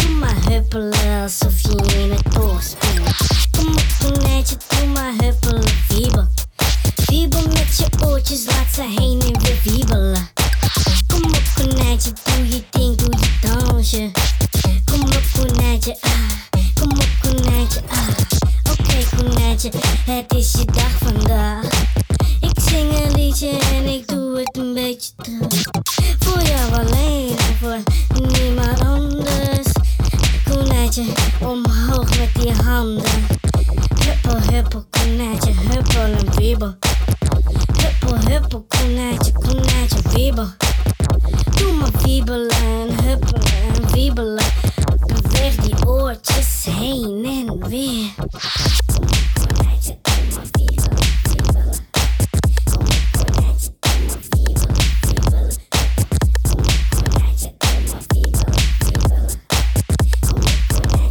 Doe maar huppelen alsof je in het bos speelt. Kom op konijntje, doe maar huppelen, wiebel. Wiebel met je oortjes, laat ze heen en weer wiebelen. Kom op konijntje, doe je ding, doe je dansje. Kom op konijntje, ah. Kom op konijntje, ah. Oké konijntje, het is je dag vandaag. Ik zing een liedje en ik doe het een beetje terug. Voor jou alleen en voor niemand anders. Konijntje, omhoog met die handen. Huppel, huppel, konijntje, huppel en wiebel. Huppel, huppel, konijntje, konijntje, wiebel. Doe maar wiebelen, huppelen en wiebelen. Beweeg die oortjes heen en weer. Konijntje, doe maar wiebelen, wiebelen. Kom op, konijntje, doe maar wiebelen, wiebelen. Kom op, konijntje, doe maar wiebelen, wiebelen.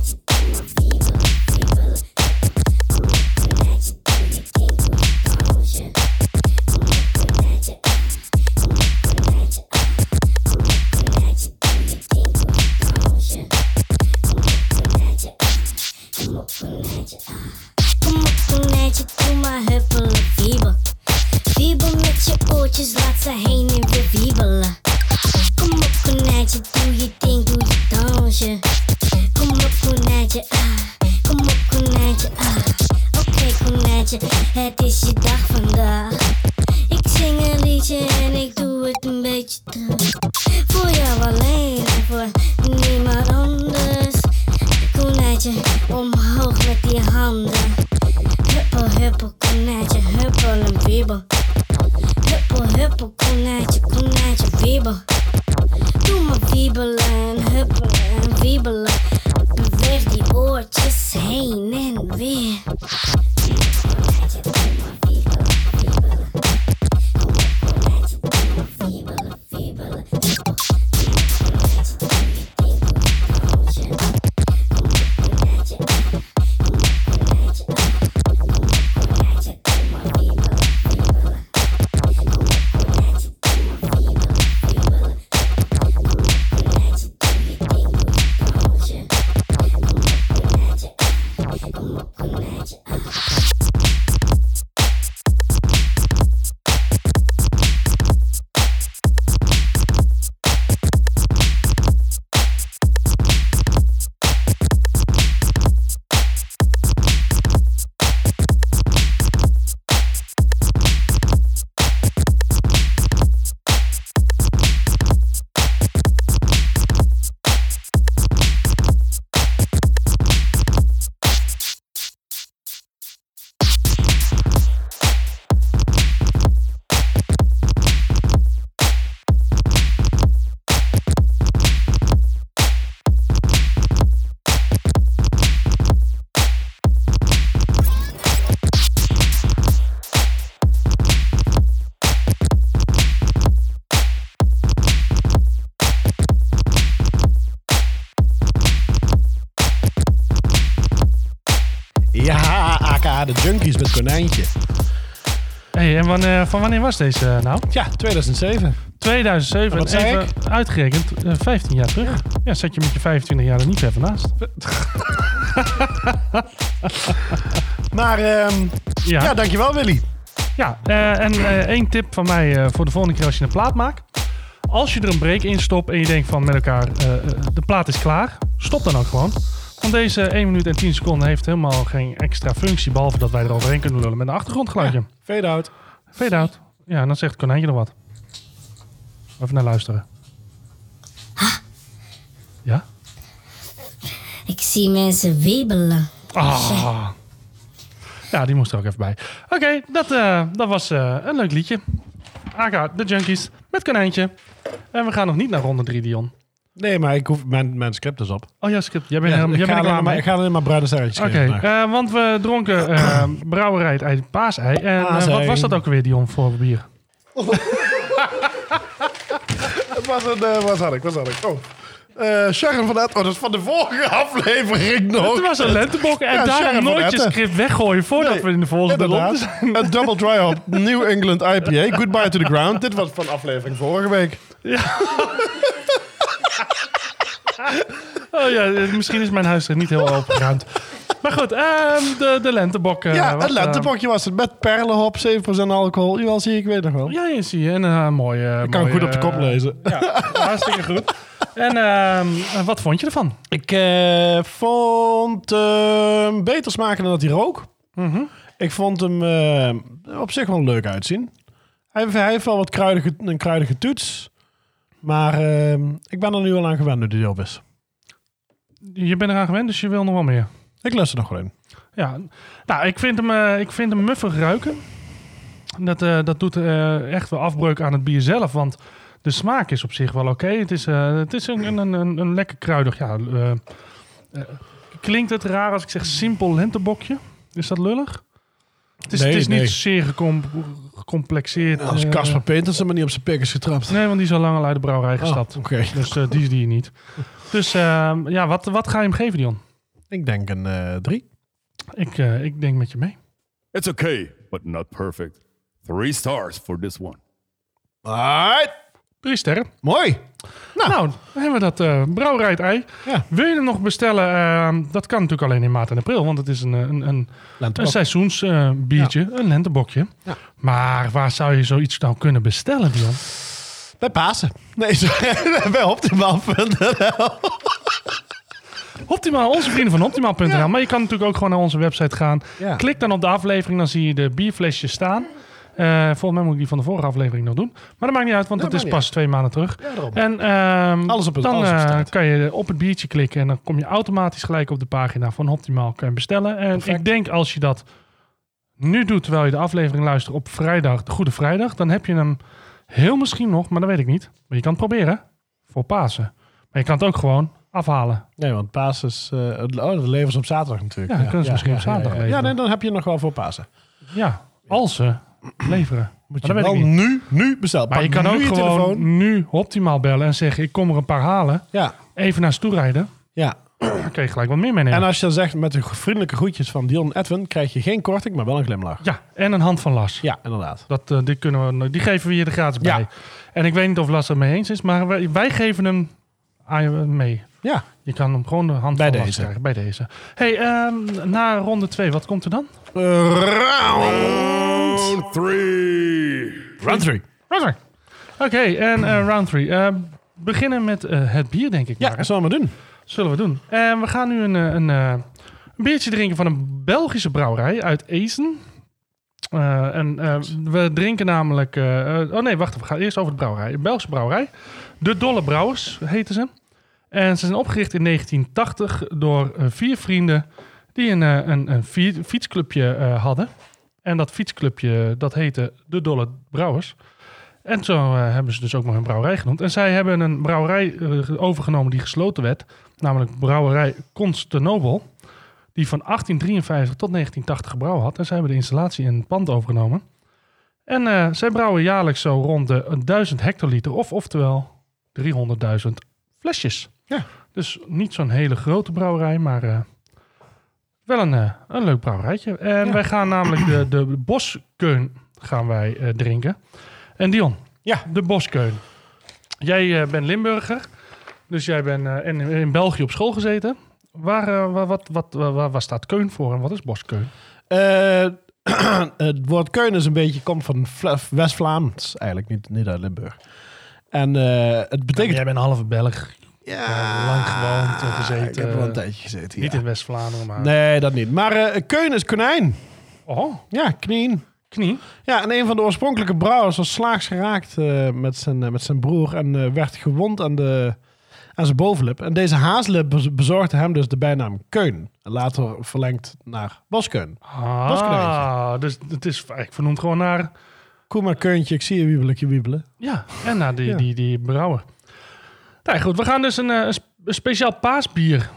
Kom op, konijntje, doe maar wiebelen, wiebelen. Kom op, konijntje, doe je ding, doe je dansje. Kom op, konijntje, ah. Kom op, konijntje, ah. Kom op, konijntje, doe je ding, doe je dansje. Kom op, konijntje, ah. Kom op, konijntje, ah. Kom op, konijntje, doe maar huppelen, wiebel. Wiebel met je oortjes, laat ze heen en weer wiebelen. Kom op konijntje, doe je ding, doe je dansje. Kom op konijntje, ah. Kom op konijntje, ah. Oké konijntje, het is je dag vandaag. ah. Ik zing een liedje en ik doe het een beetje terug. Voor jou alleen en voor niemand anders. Konijntje, omhoog met die handen. Huppel, huppel, konijntje, huppel en wiebel. Huppel, huppel, konijntje, konijntje, wiebel. Doe maar wiebelen, huppelen en wiebelen. Beweeg die oortjes heen en weer. Konijntje, doe maar wiebelen, wiebelen. Kom op, konijntje, doe maar wiebelen, wiebelen. Huppel, konijntje, doe je ding, doe je dansje. Kom op, konijntje, ah. Kom op, konijntje, ah. Kom op, konijntje, doe maar wiebelen, wiebelen.
Ja, aka de junkies met konijntje.
Hey, en wanneer, van wanneer was deze eh, nou?
Ja, 2007.
2007.
Wat
en
zei
even uitgerekend, eh, 15 jaar terug. Ja. zet je met je 25 jaar er niet ver van naast.
Maar ehm, ja.
Ja, ja,
dankjewel Willy.
eh, en eh, één tip van mij eh, voor de volgende keer als je een plaat maakt. Als je er een break in stopt en je denkt van met elkaar, eh, eh, de plaat is klaar. Stop dan ook gewoon. Want deze 1 minuut en 10 seconden heeft helemaal geen extra functie. Behalve dat wij er overheen kunnen lullen met een achtergrondgeluidje.
Fade out.
Fade out. Ja, en dan zegt Konijntje nog wat. Even naar luisteren. Ja?
Ik zie mensen wiebelen.
Ah. Ja, die moest er ook even bij. Oké, dat, eh, dat was eh, een leuk liedje. Aga, de Junkies, met Konijntje. En we gaan nog niet naar ronde 3, Dion.
Nee, maar ik hoef, mijn, mijn script is op.
Oh ja, Skip, jij bent, helemaal
ik,
jij
ga
bent er klaar
alleen maar,
mee.
ik ga alleen maar bruine sterretjes
Oké,
geven vandaag.
eh, want we dronken eh, brouwerij het ei, paasei. En eh, wat
Paasei. Oh,
was dat ook weer, Dion, voor bier?
Het was een, eh, wat had ik, wat had ik? Oh. Eh, Sharon van Etten. Oh, dat is van de vorige aflevering nog.
Het was een lentebok en
Ja,
daarom
Sharon van
nooit je
Etten.
script weggooien voordat
Nee,
we in de volgende ronde
Inderdaad.
zijn.
Een double dry hop New England IPA. Goodbye to the ground. Dit was van aflevering vorige week.
Oh ja, eh, misschien is mijn huis er niet heel opengeruimd. Maar goed, ehm, de, de lentebok. eh,
ja,
wat,
het lentebokje was het. Met perlenhop, 7% alcohol. Jawel, zie ik weet nog wel.
eh, ja, je zie je. En eh mooi. eh,
ik kan
mooi,
goed op de
eh,
kop lezen.
Hartstikke goed. En ehm, eh, wat vond je ervan?
Ik eh, vond eh, hem beter smaken dan dat hij rook. Mhm. Ik vond hem eh, op zich wel leuk uitzien. Hij, heeft- hij heeft wel wat kruidige, een kruidige toets. Maar eh, ik ben er nu al aan gewend nu die op is.
Je bent eraan gewend, dus je wil nog wel meer.
Ik luister nog gewoon.
Ja, nou, ik vind hem, eh, ik vind hem muffig ruiken. Dat, eh, dat doet eh, echt wel afbreuk aan het bier zelf. Want de smaak is op zich wel oké. Het is, eh, het is een, een, een, een lekker kruidig. Ja, eh, eh, klinkt het raar als ik zeg simpel lentebokje? Is dat lullig? Het is,
Nee,
het is
nee.
niet zeer gecom- gecomplexeerd.
Als
eh,
Casper Petersen maar niet op zijn pik is getrapt.
Nee, want die is al lang al uit de brouwerij gestapt.
Oh, Oké.
Dus eh, die is die niet. Dus eh, ja, wat, wat ga je hem geven, Dion?
Ik denk een eh, drie.
Ik, eh, ik denk met je mee.
It's okay, but not perfect. Three stars for this one.
Alright.
Drie sterren.
Mooi.
Nou, dan hebben we dat eh brouwerij het ei.
Ja.
Wil je hem nog bestellen? Ehm, dat kan natuurlijk alleen in maart en april. Want het is een, eh, een, een, een
Lentebok.
seizoensbiertje. een lentebokje. Maar waar zou je zoiets nou kunnen bestellen, Dion?
Bij Pasen. Nee, sorry, bij optimaal.nl.
Optimaal, onze vrienden van optimaal.nl.
Ja.
Maar je kan natuurlijk ook gewoon naar onze website gaan.
Ja.
Klik dan op de aflevering, dan zie je de bierflesjes staan. Eh, volgens mij moet ik die van de vorige aflevering nog doen. Maar dat maakt niet uit, want
Nee,
dat is
maakt niet
pas twee maanden terug.
Ja, daarom.
en ehm,
Alles op het-
dan
alles op
eh,
staat.
kan je op het biertje klikken en dan kom je automatisch gelijk op de pagina van Optimaal kan je bestellen. En ik denk als je dat nu doet, terwijl je de aflevering luistert op vrijdag, de Goede Vrijdag, dan heb je hem heel misschien nog, maar dat weet ik niet. Maar je kan het proberen voor Pasen. Maar je kan het ook gewoon afhalen.
Nee, want Pasen is... eh, het- oh, dat leveren ze op zaterdag natuurlijk.
Ja, dan kunnen ze misschien op zaterdag
ja, ja.
leveren.
Ja, nee, dan heb je nog wel voor Pasen.
Ja, als ze leveren.
Moet
Maar
je
dat
wel
weet ik niet.
nu, nu bestellen.
Maar je
Pak
kan ook
nu je
gewoon
telefoon.
nu optimaal bellen en zeggen: Ik kom er een paar halen.
Ja,
Even naar ze toe rijden.
ja.
Dan kun je gelijk wat meer meenemen.
En als je dan zegt met de vriendelijke groetjes van Dion en Edwin... krijg je geen korting, maar wel een glimlach.
Ja, en een hand van Lars.
Ja, inderdaad.
Dat, eh, die, kunnen we, die geven we je er gratis
Ja.
bij. En ik weet niet of Lars het mee eens is, maar wij, wij geven hem aan je mee.
Ja.
Je kan hem gewoon de hand
Bij
van Lars
deze.
krijgen. Bij deze. hey, ehm, na ronde 2, wat komt er dan?
Round three.
Round 3.
Roger. Oké, en eh, round 3. beginnen met eh, het bier, denk ik.
Ja,
maar, hè?
dat zullen we maar doen.
Zullen we doen. En we gaan nu een, eh, een, eh, een biertje drinken van een Belgische brouwerij uit Ezen. Eh, en eh, we drinken namelijk... eh, eh, oh nee, wacht. We gaan eerst over de brouwerij. Een Belgische brouwerij. De Dolle Brouwers heten ze. En ze zijn opgericht in 1980 door eh, vier vrienden die een, eh, een, een fi- fietsclubje eh, hadden. En dat fietsclubje, dat heette De Dolle Brouwers. En zo eh, hebben ze dus ook maar hun brouwerij genoemd. En zij hebben een brouwerij eh, overgenomen die gesloten werd. Namelijk brouwerij Constanobel. Die van 1853 tot 1980 gebrouwen had. En zij hebben de installatie en het pand overgenomen. En eh, zij brouwen jaarlijks zo rond de 1000 hectoliter. Of oftewel 300.000 flesjes.
Ja.
Dus niet zo'n hele grote brouwerij, maar... eh, wel een, eh, een leuk brouwerijtje. En wij gaan namelijk de, de boskeun gaan wij eh, drinken. En Dion,
Ja.
de boskeun. Jij eh, bent Limburger, dus jij bent eh, in, in België op school gezeten. Waar, eh, wa- wat, wat, wa- wa- waar staat keun voor en wat is boskeun?
Eh, het woord Keunen is een beetje komt van Vla- West-Vlaams, eigenlijk niet, niet uit Limburg. En eh, het betekent.
bent een halve Belg, eh, lang gewoond en gezeten.
Ik heb er wel een tijdje gezeten.
niet
ja.
in West-Vlaanderen, maar...
Nee, dat niet. Maar eh Keunen is konijn.
Oh,
Ja, knien.
knie.
Ja, en een van de oorspronkelijke brouwers was slaags geraakt eh, met, zijn, eh, met zijn broer en eh, werd gewond aan, de, aan zijn bovenlip. En deze haaslip bez- bezorgde hem dus de bijnaam Keun. Later verlengd naar Boskeun.
Ah, dus het is eigenlijk vernoemd gewoon naar...
Kom maar Keuntje, ik zie je wiebeletje wiebelen.
Ja, en naar die,
Ja.
die, die brouwer. Nou goed, we gaan dus een, eh, een sp- een speciaal paasbier.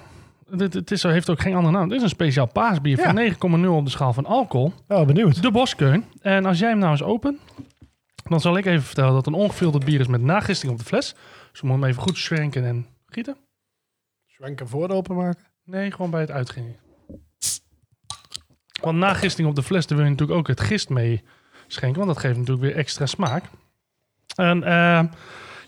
Dit, het is, heeft ook geen andere naam. Dit is een speciaal paasbier
Ja.
van 9,0 op de schaal van alcohol.
Oh, benieuwd.
De Boskeun. En als jij hem nou eens open, dan zal ik even vertellen dat het een ongefilterd bier is met nagisting op de fles. Dus we moeten hem even goed schwenken en gieten.
Schwenken voor de openmaken.
Nee, gewoon bij het uitgingen. Want nagisting op de fles, daar wil je natuurlijk ook het gist mee schenken. Want dat geeft natuurlijk weer extra smaak. En eh,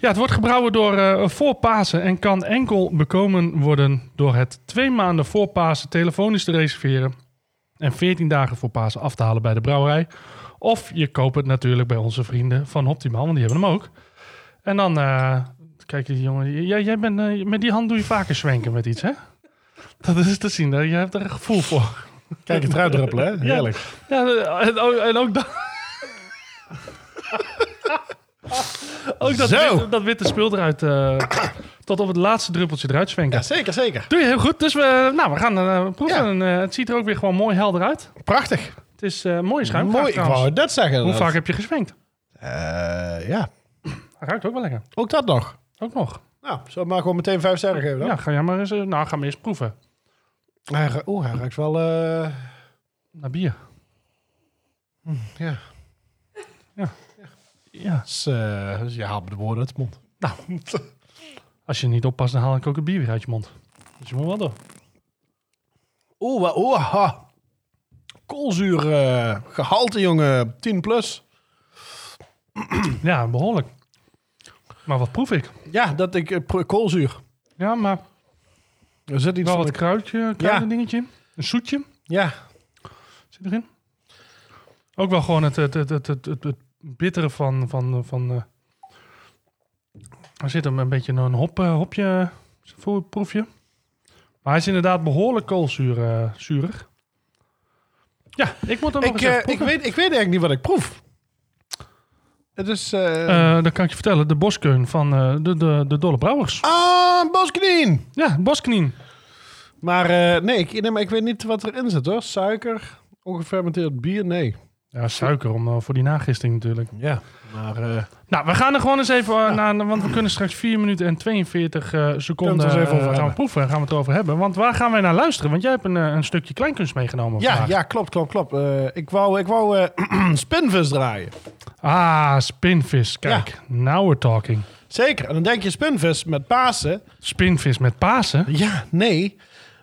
ja, het wordt gebrouwen door eh, voor Pasen en kan enkel bekomen worden door het twee maanden voor Pasen telefonisch te reserveren. En 14 dagen voor Pasen af te halen bij de brouwerij. Of je koopt het natuurlijk bij onze vrienden van Optimaal, want die hebben hem ook. En dan, eh, kijk die jongen, jij, jij bent, eh, met die hand doe je vaker zwenken met iets, hè? Dat is te zien, hè? je hebt er een gevoel voor.
Kijk, het eruit druppelen, hè? Heerlijk.
Ja, en ook, en ook dat... ook dat,
Zo.
witte- dat witte spul eruit, eh, tot op het laatste druppeltje eruit zwenken.
zeker, zeker.
Doe je heel goed, dus we, nou, we gaan eh, proeven.
Ja.
En, eh, het ziet er ook weer gewoon mooi helder uit.
Prachtig.
Het is eh mooie schuim.
Mooi, ik wou dat zeggen.
Hoe
inderdaad.
vaak heb je gezwenkt?
Eh, ja,
Hij ruikt ook wel lekker.
ook dat nog.
Ook nog.
Nou, zullen we maar gewoon meteen vijf sterren geven dan?
Ja, ga jij maar eens, eh, nou, ga maar eens proeven.
Hij ru- Oeh, hij ruikt wel... eh,
Naar bier.
ja.
Ja.
Dus, eh, dus je haalt de woorden uit de mond.
Nou, als je niet oppast, dan haal ik ook het bier weer uit je mond. Dus je moet wel door.
Oeh, wa- oeh, ha. Koolzuur eh, gehalte, jongen. 10 plus.
Ja, behoorlijk. Maar wat proef ik?
Ja, dat ik... eh, pro- koolzuur.
Ja, maar
Er zit iets
wel
van...
wat
de-
kruidje, kruidendingetje. Een zoetje
Ja.
zit erin. Ook wel gewoon het, het, het, het, het, het, het bittere van, van, van eh, Er zit hem een beetje een hop, eh, hopje, voor- proefje. Maar hij is inderdaad behoorlijk koolzuurig. Ja, ik moet hem nog
Ik,
eens
eh,
even
ik,
proeven.
weet, ik weet eigenlijk niet wat ik proef. Het is... eh
Eh, dan kan ik je vertellen, de boskun van eh, de, de, de Dolle Brouwers.
Ah, bosknien!
Ja, bosknien.
Maar eh, nee, ik, nee, maar ik weet niet wat erin zit hoor. Suiker, ongefermenteerd bier, nee.
Ja, suiker om, eh, voor die nagisting natuurlijk.
Ja, maar... eh
Nou, we gaan er gewoon eens even eh, naar, want we kunnen straks 4 minuten en 42 eh, seconden
Kunnen we het eens even
eh,
over
gaan we
hebben.
proeven. Gaan we het over hebben. Want waar gaan wij naar luisteren? Want jij hebt een, eh, een stukje kleinkunst meegenomen.
ja,
vandaag.
ja, klopt, klopt, klopt. Eh, ik wou, ik wou eh, spinvis draaien.
Ah, spinvis. Kijk, now we're talking.
Zeker. En dan denk je spinvis met Pasen.
Spinvis met Pasen.
Ja, nee.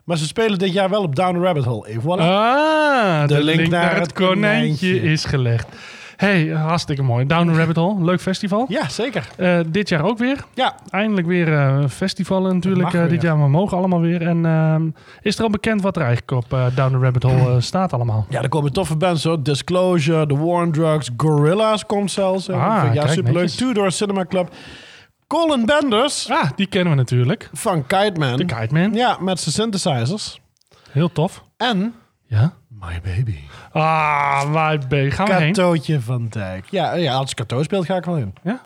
Maar ze spelen dit jaar wel op Down the Rabbit Hole. Even voilà.
Ah, de, link, naar, het konijntje,
konijntje.
is gelegd. hey, hartstikke mooi. Down the Rabbit Hole, leuk festival.
Ja, zeker.
Eh, dit jaar ook weer.
Ja.
Eindelijk weer eh festivalen natuurlijk
mag
eh, dit
weer.
jaar, maar mogen allemaal weer. En ehm, is er al bekend wat er eigenlijk op eh, Down the Rabbit Hole eh, staat allemaal?
Ja, er komen toffe bands hoor. Disclosure, The War on Drugs, Gorillas komt zelfs. eh,
Ah,
vind ik- ja,
kijk,
superleuk.
netjes.
Tudor Cinema Club. Colin Benders
Ah, die kennen we natuurlijk.
van Kite Man.
De Kite Man.
Ja, met zijn synthesizers.
Heel tof.
En
Ja.
My Baby.
Ah, my baby. Gaan we heen?
Katootje van Dijk. Ja, ja, als Kato speelt ga ik wel in.
Ja.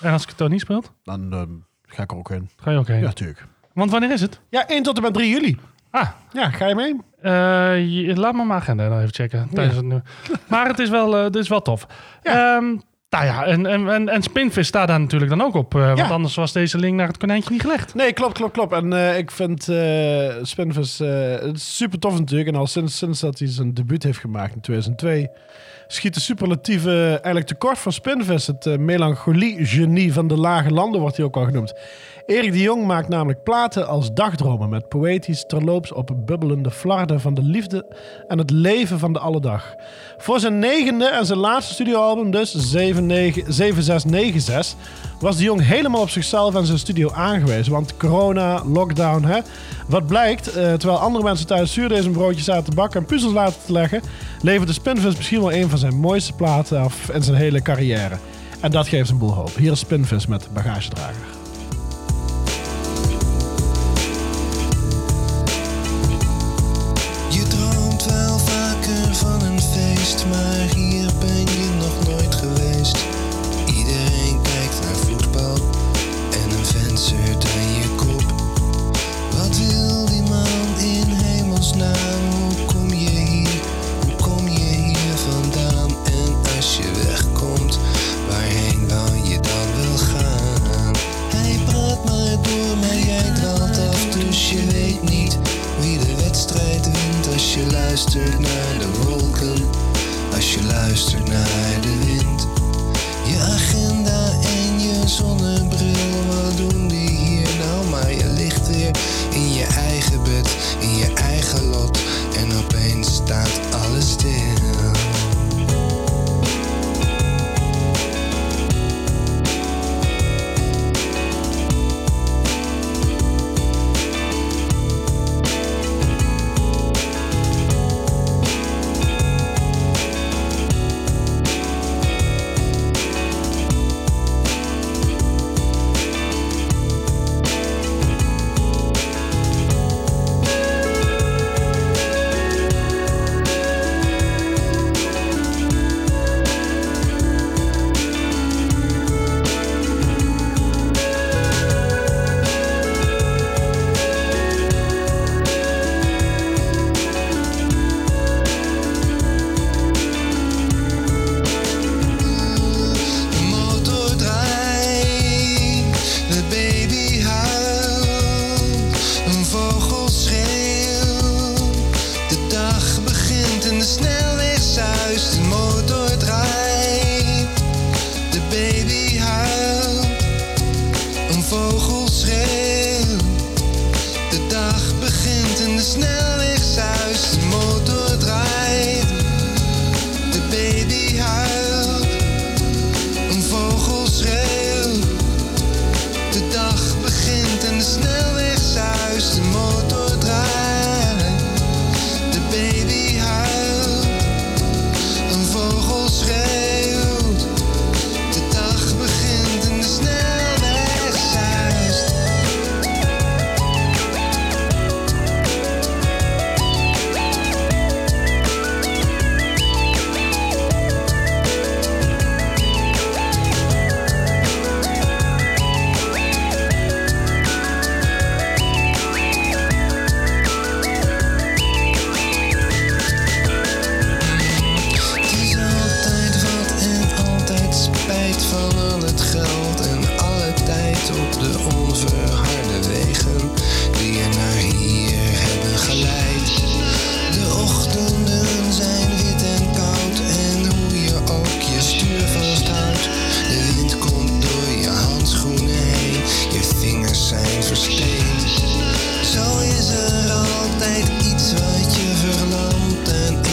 En als ik het dan niet speelt,
Dan ehm, ga ik er ook in.
ga je ook heen.
Ja, natuurlijk.
Want wanneer is het?
Ja, 1 tot en met 3 juli.
Ah,
Ja, ga je mee?
Eh, je- laat me mijn agenda dan even checken. Tijdens het nu. Maar het is wel, eh, het is wel tof. Ehm, nou ja, en, en, en, en Spinvis staat daar natuurlijk dan ook op. eh, Want anders was deze link naar het konijntje niet gelegd.
Nee, klopt, klopt, klopt. En eh, ik vind eh Spinvis eh, het is super tof natuurlijk. En al sinds, sinds dat hij zijn debuut heeft gemaakt in 2002... schiet de superlatieve eigenlijk tekort van Spinvis. Het eh, melancholie-genie van de lage landen wordt hij ook al genoemd. Erik de Jong maakt namelijk platen als dagdromen... met poëtisch terloops op bubbelende flarden van de liefde... en het leven van de alledag. Voor zijn negende en zijn laatste studioalbum, dus 79 7696... was de Jong helemaal op zichzelf en zijn studio aangewezen. Want corona, lockdown, hè. Wat blijkt, eh, terwijl andere mensen thuis zuurdees en broodjes zaten te bakken... en puzzels laten te leggen... leverde Spinvis misschien wel een van zijn mooiste platen af in zijn hele carrière. En dat geeft een boel hoop. Hier is Spinvis met Bagagedrager.
Je droomt wel vaker van een feest, maar hier ben je nog nooit geweest. Iedereen kijkt naar voetbal en een vent zeurt aan je kop. Wat wil die man in hemelsnaam? Hoe kom je hier? Hoe kom je hier vandaan? En als je wegkomt, waarheen wou je dan wel gaan? Hij praat maar door, maar jij draalt af, dus je weet niet wie de wedstrijd wint als je luistert naar de wolken, als je luistert naar de wind. Je agenda en je zonnebril, wat doen die hier nou? Maar je ligt weer in je eigen bed, in je eigen lot en opeens staat alles stil. De motor draait, de baby huilt, een vogel schreeuwt. De dag begint en de snelweg zuist. De motor draait, de baby huilt, een vogel schreeuwt. De dag begint en de snelweg zuist. De motor draait, de baby huilt. Een vogel schreeuwt. De dag begint en de snelweg zuist. De motor draait. De baby huilt.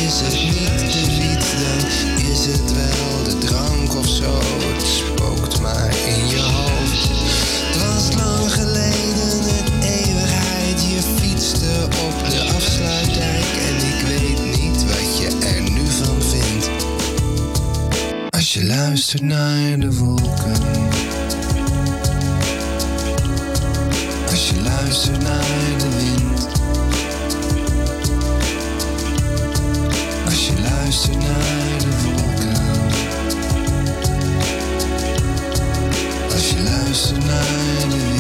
Is het niet de wiet, dan is het wel de drank of zo. Het spookt maar in je hoofd. Het was lang geleden, een eeuwigheid. Je fietste op de afsluitdijk en ik weet niet wat je er nu van vindt. Als je luistert naar de wolken. Als je luistert naar de wind. Als je luistert naar de wolken. Als je luistert naar de wind.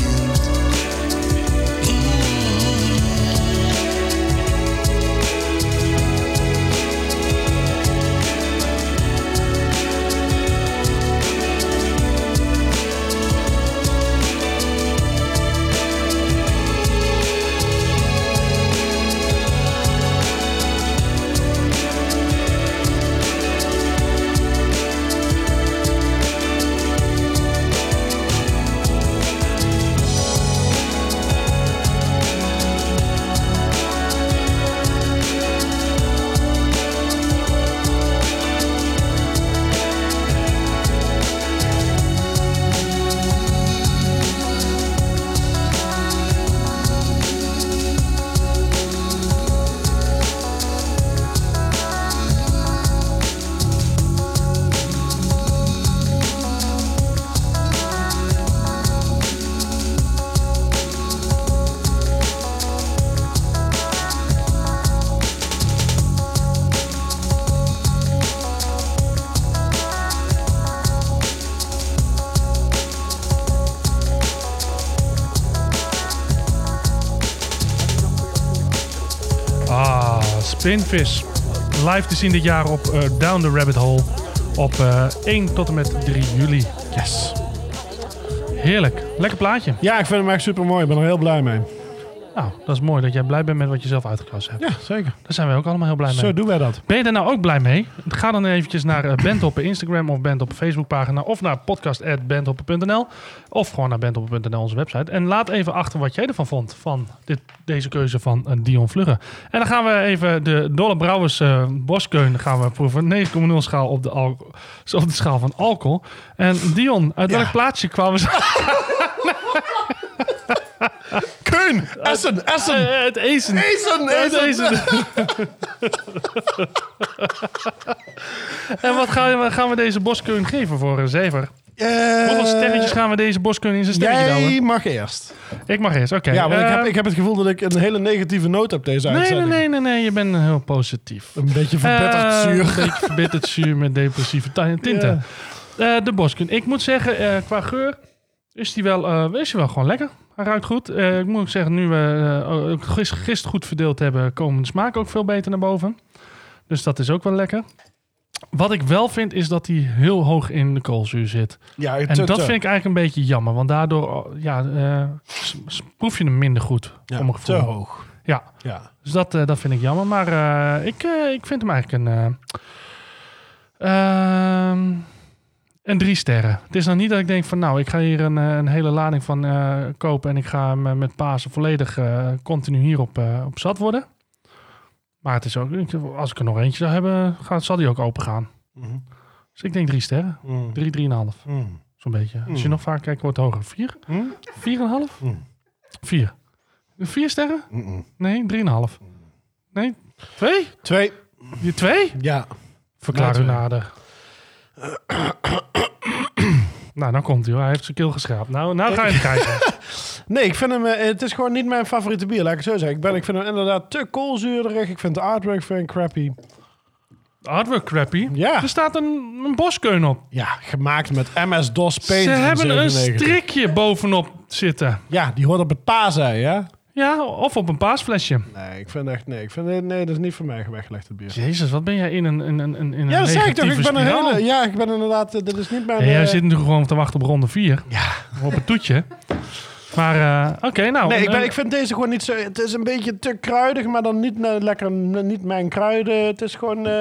Ah, Spinfish. Live te zien dit jaar op eh, Down the Rabbit Hole. Op eh, 1 tot en met 3 juli.
Yes.
Heerlijk. Lekker plaatje.
Ja, ik vind hem echt super mooi. Ik ben er heel blij mee.
Nou, dat is mooi dat jij blij bent met wat je zelf uitgekozen hebt.
Ja, zeker.
Daar zijn wij ook allemaal heel blij mee.
Zo doen wij dat.
Ben je daar nou ook blij mee? Ga dan eventjes naar eh, Bent op Instagram of Bent op Facebookpagina of naar podcast@benthoppen.nl of gewoon naar benthoppen.nl onze website en laat even achter wat jij ervan vond van dit, deze keuze van eh, Dion Vlugge. En dan gaan we even de Dolle Brouwers eh, Boskeun gaan we proeven. 9,0 schaal op de, al- op de schaal van alcohol. En Dion, uit welk plaatsje kwamen ze?
Keun! Essen! Essen!
Eh, het Ezen.
Ezen,
Het
Ezen.
Ezen. en wat gaan we, gaan we deze Boskeun geven voor een zever? Hoeveel sterretjes gaan we deze Boskeun in zijn sterretje
Eh, Jij
douwen?
mag eerst.
Ik mag eerst, oké.
Ja, want ik,
Eh,
heb, ik heb het gevoel dat ik een hele negatieve noot heb deze
Nee, nee,
uitzending.
nee, nee, nee, je bent heel positief.
Een beetje verbitterd
Eh,
zuur.
Een beetje verbitterd zuur met depressieve ti- tinten. Eh, de Boskun. Ik moet zeggen, eh, qua geur is die wel, eh, is die wel gewoon lekker. Hij ruikt goed. Eh, ik moet ook zeggen, nu we eh, ook gis- gisteren goed verdeeld hebben, komen de smaken ook veel beter naar boven. Dus dat is ook wel lekker. Wat ik wel vind, is dat hij heel hoog in de koolzuur zit.
Ja,
En dat vind ik eigenlijk een beetje jammer. Want daardoor oh, ja, eh, s- s- proef je hem minder goed. voor mijn
te
gevoel.
hoog.
Ja,
Ja.
dus dat, eh, dat vind ik jammer. Maar eh, ik, eh, ik vind hem eigenlijk een. eh, ehm, een drie sterren. Het is nou niet dat ik denk van nou, ik ga hier een, eh, een hele lading van eh, kopen en ik ga hem eh, met Pasen volledig eh, continu hierop eh, op zat worden. Maar het is ook, ik- als ik er nog eentje zou hebben, gaat, zal die ook open gaan.
Mhm.
Dus ik denk drie sterren. Drie, drieënhalf. Zo'n beetje. Als je
Hmm.
nog vaak kijkt, wordt het hoger. Vier? Vier en een half? Vier. Vier sterren? Nee, drieënhalf. Nee, twee?
Twee.
Je twee?
Ja.
Verklaar u
twee.
nader. nou, dan komt hij hoor. Hij heeft zijn keel geschraapt. Nou, nou ga je hem kijken.
Nee, ik vind hem... eh, het is gewoon niet mijn favoriete bier, laat ik het zo zeggen. Ik, ben, ik vind hem inderdaad te koolzuurderig. Ik vind de artwork vind ik crappy.
Hardware crappy.
Ja.
Er staat een, een boskeun op.
Ja, gemaakt met MS-DOS Paint.
Ze
in
hebben een
97.
strikje bovenop zitten.
Ja, die hoort op het paasei, hè?
Ja, of op een paasflesje.
Nee, ik vind echt... Nee, ik vind, nee, nee dat is niet voor mij weggelegd, het bier.
Jezus, wat ben jij in een, in een, in een
Ja, dat zei ik toch. Ik
negatieve
ben een
spiraal.
hele... Ja, ik ben inderdaad... eh, Dit is niet mijn...
Ja, jij
eh,
zit natuurlijk gewoon te wachten op ronde 4. Ja. Op het toetje. Maar eh, oké, nou.
Nee, ik, ben,
eh,
ik vind deze gewoon niet zo... Het is een beetje te kruidig, maar dan niet eh, lekker... Niet mijn kruiden. Het is gewoon... eh,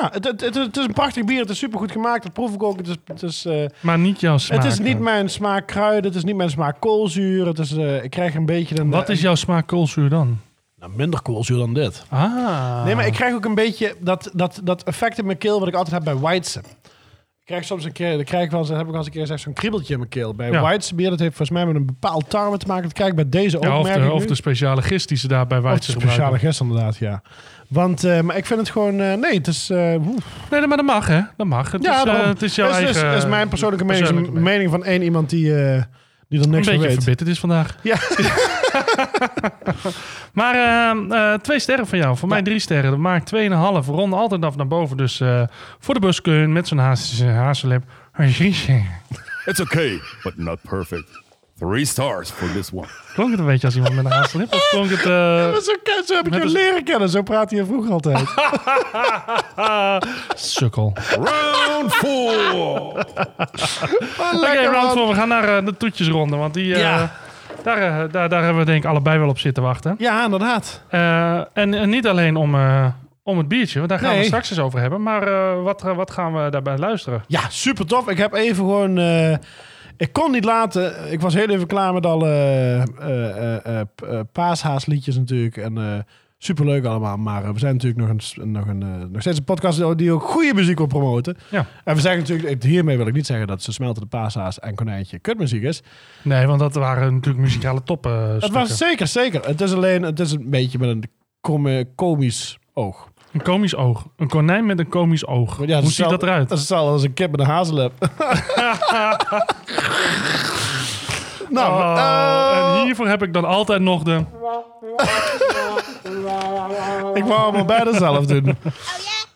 ja, het, het, het, het is een prachtig bier. Het is supergoed gemaakt. Dat proef ik ook. Het is... Het is eh,
Maar niet jouw smaak.
Het is niet
eh.
mijn smaak kruiden, het is niet mijn smaak koolzuur. Het is, eh, ik krijg een beetje een...
Wat is jouw smaak koolzuur dan?
Nou, minder koolzuur dan dit.
Ah.
Nee, maar ik krijg ook een beetje dat, dat, dat effect in mijn keel wat ik altijd heb bij Weidse. Ik krijg soms een keer, dan krijg ik wel eens, dan heb ik wel eens een keer gezegd, zo'n kriebeltje in mijn keel. Bij
Ja.
White's bier, dat heeft volgens mij met een bepaald tarwe te maken. Dat krijg ik bij deze ook,
Ja, of,
merk
de,
ik
of
nu.
de speciale gist die ze daar bij
Of de
Weidse
speciale
gebruiken.
gist inderdaad, ja. Want, eh, maar ik vind het gewoon, eh, nee, het is... eh, oeh.
Nee, maar dat mag, hè? Dat mag. Het, is, eh,
daarom.
het is jouw
Het is-
eigen... eh,
is- is mijn persoonlijke mening, is een
persoonlijke mening.
mening van één iemand die, eh, die er
Een
niks van
beetje
weet.
verbitterd is vandaag.
Ja.
Maar eh, eh, twee sterren van jou. Voor mij drie sterren. Dat maakt 2,5. Rond altijd af naar boven. Dus eh, voor de buskun met zo'n haas- hazelip. Een drie sterren.
It's okay, but not perfect. Three stars for this one.
Klonk het een beetje als iemand met een hazelip? Of klonk het... eh,
Maar zo, ken- zo heb ik
Net
jou
als-
leren kennen, zo praat hij vroeger altijd.
sukkel?
Round four.
Oké,
Lekker,
round
man.
four. We gaan naar eh, de toetjesronde. Want die... eh,
Ja.
daar, eh, daar, daar hebben we denk ik allebei wel op zitten wachten.
Ja, inderdaad.
Eh, en, en niet alleen om, eh, om het biertje, want daar gaan we
Nee.
het straks eens over hebben. Maar eh, wat, eh, wat gaan we daarbij luisteren?
Ja, super tof. Ik heb even gewoon. eh, ik kon niet laten. Ik was heel even klaar met alle eh, eh, eh, p- eh, paashaasliedjes natuurlijk. En eh superleuk allemaal. Maar eh, we zijn natuurlijk nog, een, s- nog, een, eh, nog steeds een podcast die ook goede muziek wil promoten.
Ja.
En we zeggen natuurlijk. Hiermee wil ik niet zeggen dat ze smelten de paashaas en konijntje kutmuziek is.
Nee, want dat waren natuurlijk muzikale toppen. eh,
Dat was zeker, zeker. Het is alleen. Het is een beetje met een kom- komisch oog.
Een komisch oog. Een konijn met een komisch oog.
Ja,
Hoe ziet dat eruit?
Dat is hetzelfde als een kip met een hazelip. nou,
Oh,
eh,
En hiervoor heb ik dan altijd nog de...
ik wou allemaal bijna zelf doen.
Oh yeah?